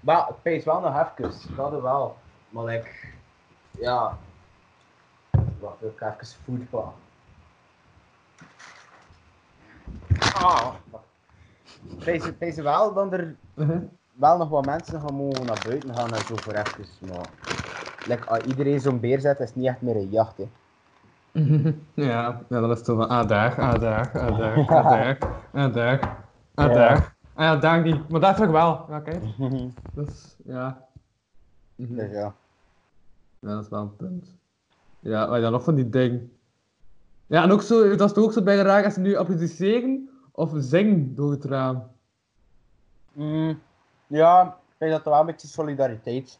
[SPEAKER 3] Maar het pees wel nog even, dat wel. Maar ik, ja. Wacht, ik ga even voetbal. Ah. Pees, pees wel dat er
[SPEAKER 4] Uh-huh.
[SPEAKER 3] wel nog wat mensen gaan mogen naar buiten gaan en zo voor even. Maar like, als iedereen zo'n beer zet, is het niet echt meer een jacht. Hè.
[SPEAKER 4] Ja, ja, dat is toch van ah daar, ah daar, ah daar, ah daar, ah daar, ah daar. Ah ja, daar niet. Maar daar terug wel. Ja, kijk. Dus, ja. Mhm.
[SPEAKER 3] Dus ja.
[SPEAKER 4] Ja, dat is wel een punt. Ja, wat je dan nog van die ding. Ja, en ook zo, dat is toch ook zo bij de raak als ze nu applaudisseren of zingen door het raam.
[SPEAKER 3] Mm, ja, ik denk dat er wel een beetje solidariteit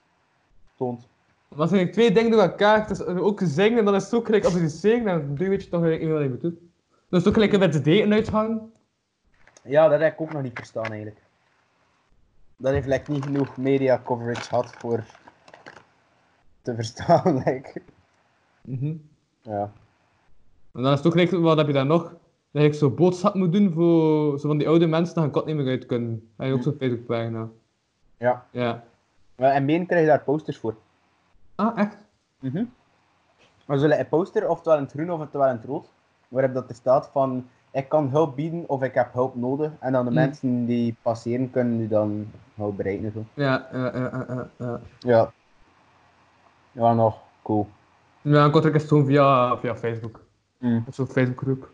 [SPEAKER 3] toont.
[SPEAKER 4] Maar dat zijn eigenlijk twee dingen door elkaar. Het is ook zingen en dan is het ook gelijk applaudisseren en dan weet je toch eigenlijk niet wat je moet doen. Dat is ook gelijk met de deken uithangen.
[SPEAKER 3] Ja, dat heb ik ook nog niet verstaan eigenlijk. Dat heeft like, niet genoeg media coverage gehad voor te verstaan. Like.
[SPEAKER 4] Mhm.
[SPEAKER 3] Ja.
[SPEAKER 4] En dan is het ook gelijk, wat heb je dan nog? Dat ik zo'n boodschap moet doen voor zo van die oude mensen, dan kan ik het niet meer uit kunnen. Heb je ook zo'n Facebook-pagina.
[SPEAKER 3] ja.
[SPEAKER 4] Ja.
[SPEAKER 3] En meen krijg je daar posters voor.
[SPEAKER 4] Ah, Ah, echt?
[SPEAKER 3] We zullen een poster, oftewel in het groen of oftewel in het rood, waarop dat er staat van ik kan hulp bieden of ik heb hulp nodig. En dan de
[SPEAKER 4] Mm.
[SPEAKER 3] mensen die passeren kunnen nu dan hulp bereiken. en Zo.
[SPEAKER 4] Ja, ja, ja, ja, ja, ja.
[SPEAKER 3] Ja. Ja, nog. Cool.
[SPEAKER 4] Ja, ik had er eens toen via, via Facebook.
[SPEAKER 3] Mm.
[SPEAKER 4] Op zo'n Facebookgroep.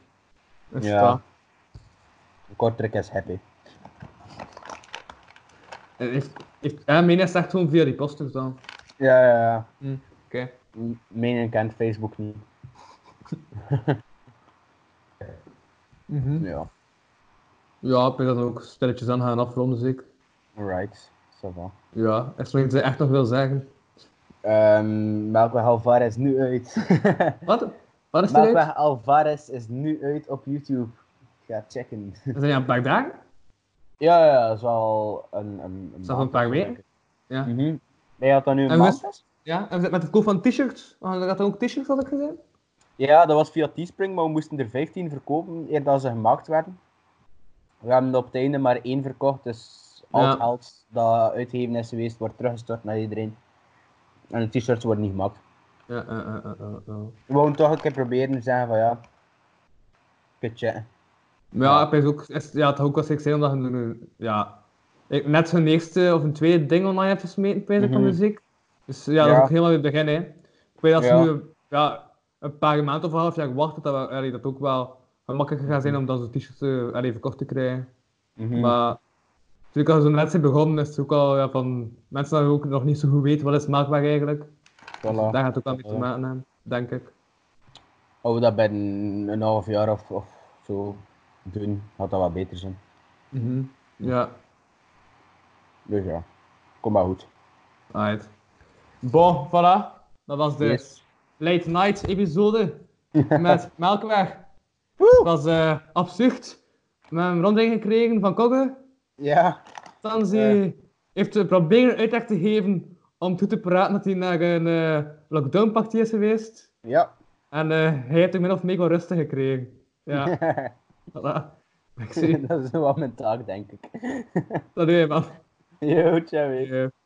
[SPEAKER 4] Dus
[SPEAKER 3] Ja.
[SPEAKER 4] ja.
[SPEAKER 3] Kortrijk is happy.
[SPEAKER 4] En heeft, heeft, ja, mijn is echt gewoon via die posters dan.
[SPEAKER 3] Ja, ja, ja.
[SPEAKER 4] Oké.
[SPEAKER 3] M- Meningen kent Facebook niet.
[SPEAKER 4] Mhm.
[SPEAKER 3] Ja.
[SPEAKER 4] Ja, ik ben dan ook stelletjes aan gaan afronden, zeker.
[SPEAKER 3] Right. Ça va.
[SPEAKER 4] Ja, is er nog iets dat je echt nog wil zeggen?
[SPEAKER 3] Ehm Melkweg Alvarez nu uit.
[SPEAKER 4] Wat? Wat is er uit?
[SPEAKER 3] Melkweg Alvarez is nu uit op YouTube. Ga checken.
[SPEAKER 4] Is dat ja een paar dagen?
[SPEAKER 3] Ja, ja, dat is wel een... een, een
[SPEAKER 4] Is dat van een paar weken? Ja.
[SPEAKER 3] Mhm. Ben je dat dan nu een
[SPEAKER 4] En
[SPEAKER 3] maand
[SPEAKER 4] we-
[SPEAKER 3] is?
[SPEAKER 4] Ja, en we zijn met de koop van t-shirts. Had dat ook t-shirts had ik gezien?
[SPEAKER 3] Ja, dat was via Teespring, maar we moesten er 15 verkopen eer dat ze gemaakt werden. We hebben op het einde maar één verkocht, dus al het
[SPEAKER 4] Ja.
[SPEAKER 3] geld dat uitgegeven is geweest, wordt teruggestort naar iedereen. En de t-shirts worden niet gemaakt.
[SPEAKER 4] Ja, eh, eh, eh, eh, eh.
[SPEAKER 3] We wouden toch een keer proberen te zeggen van ja, kutje.
[SPEAKER 4] Maar ja, ik ben ook, is, ja, het had ook wat ik zei, omdat je nu- ja, ik net zo'n eerste of een tweede ding online hebt gesmeten, pijs ik, van
[SPEAKER 3] Mhm.
[SPEAKER 4] muziek. Dus ja, dat
[SPEAKER 3] Ja.
[SPEAKER 4] is ook helemaal weer het begin, hè. Ik weet dat ze
[SPEAKER 3] Ja.
[SPEAKER 4] nu ja, een paar maanden of een half jaar wachten, dat we- allee, dat ook wel makkelijker gaat zijn
[SPEAKER 3] Mhm.
[SPEAKER 4] om dan zo'n t-shirt eh, allee, verkocht te krijgen. Maar natuurlijk als we net zijn begonnen, is het ook al ja, van mensen die ook nog niet zo goed weten wat is maakbaar eigenlijk. Dus daar gaat het ook wel mee te
[SPEAKER 3] Voilà.
[SPEAKER 4] maken hebben, denk ik.
[SPEAKER 3] Als we dat bij een, een half jaar of, of zo doen, had dat wat beter zijn.
[SPEAKER 4] Mhm. Ja.
[SPEAKER 3] Dus ja, kom maar goed.
[SPEAKER 4] Alright. Bon, voilà. Dat was de
[SPEAKER 3] Yes.
[SPEAKER 4] late night episode met Melkweg. Het was eh, absurd. We hebben een ronding gekregen van Kogge.
[SPEAKER 3] Ja,
[SPEAKER 4] Tanzi
[SPEAKER 3] Ja.
[SPEAKER 4] heeft eh, proberen uitleg te geven om toe te praten dat hij naar een eh, lockdownpartij is geweest.
[SPEAKER 3] ja.
[SPEAKER 4] En eh, hij heeft hem min of meer wel rustig gekregen. Ja, voilà. Ik zie
[SPEAKER 3] dat is wel mijn taak, denk ik.
[SPEAKER 4] dat doe je man.
[SPEAKER 3] Yo, ciao.
[SPEAKER 4] Eh,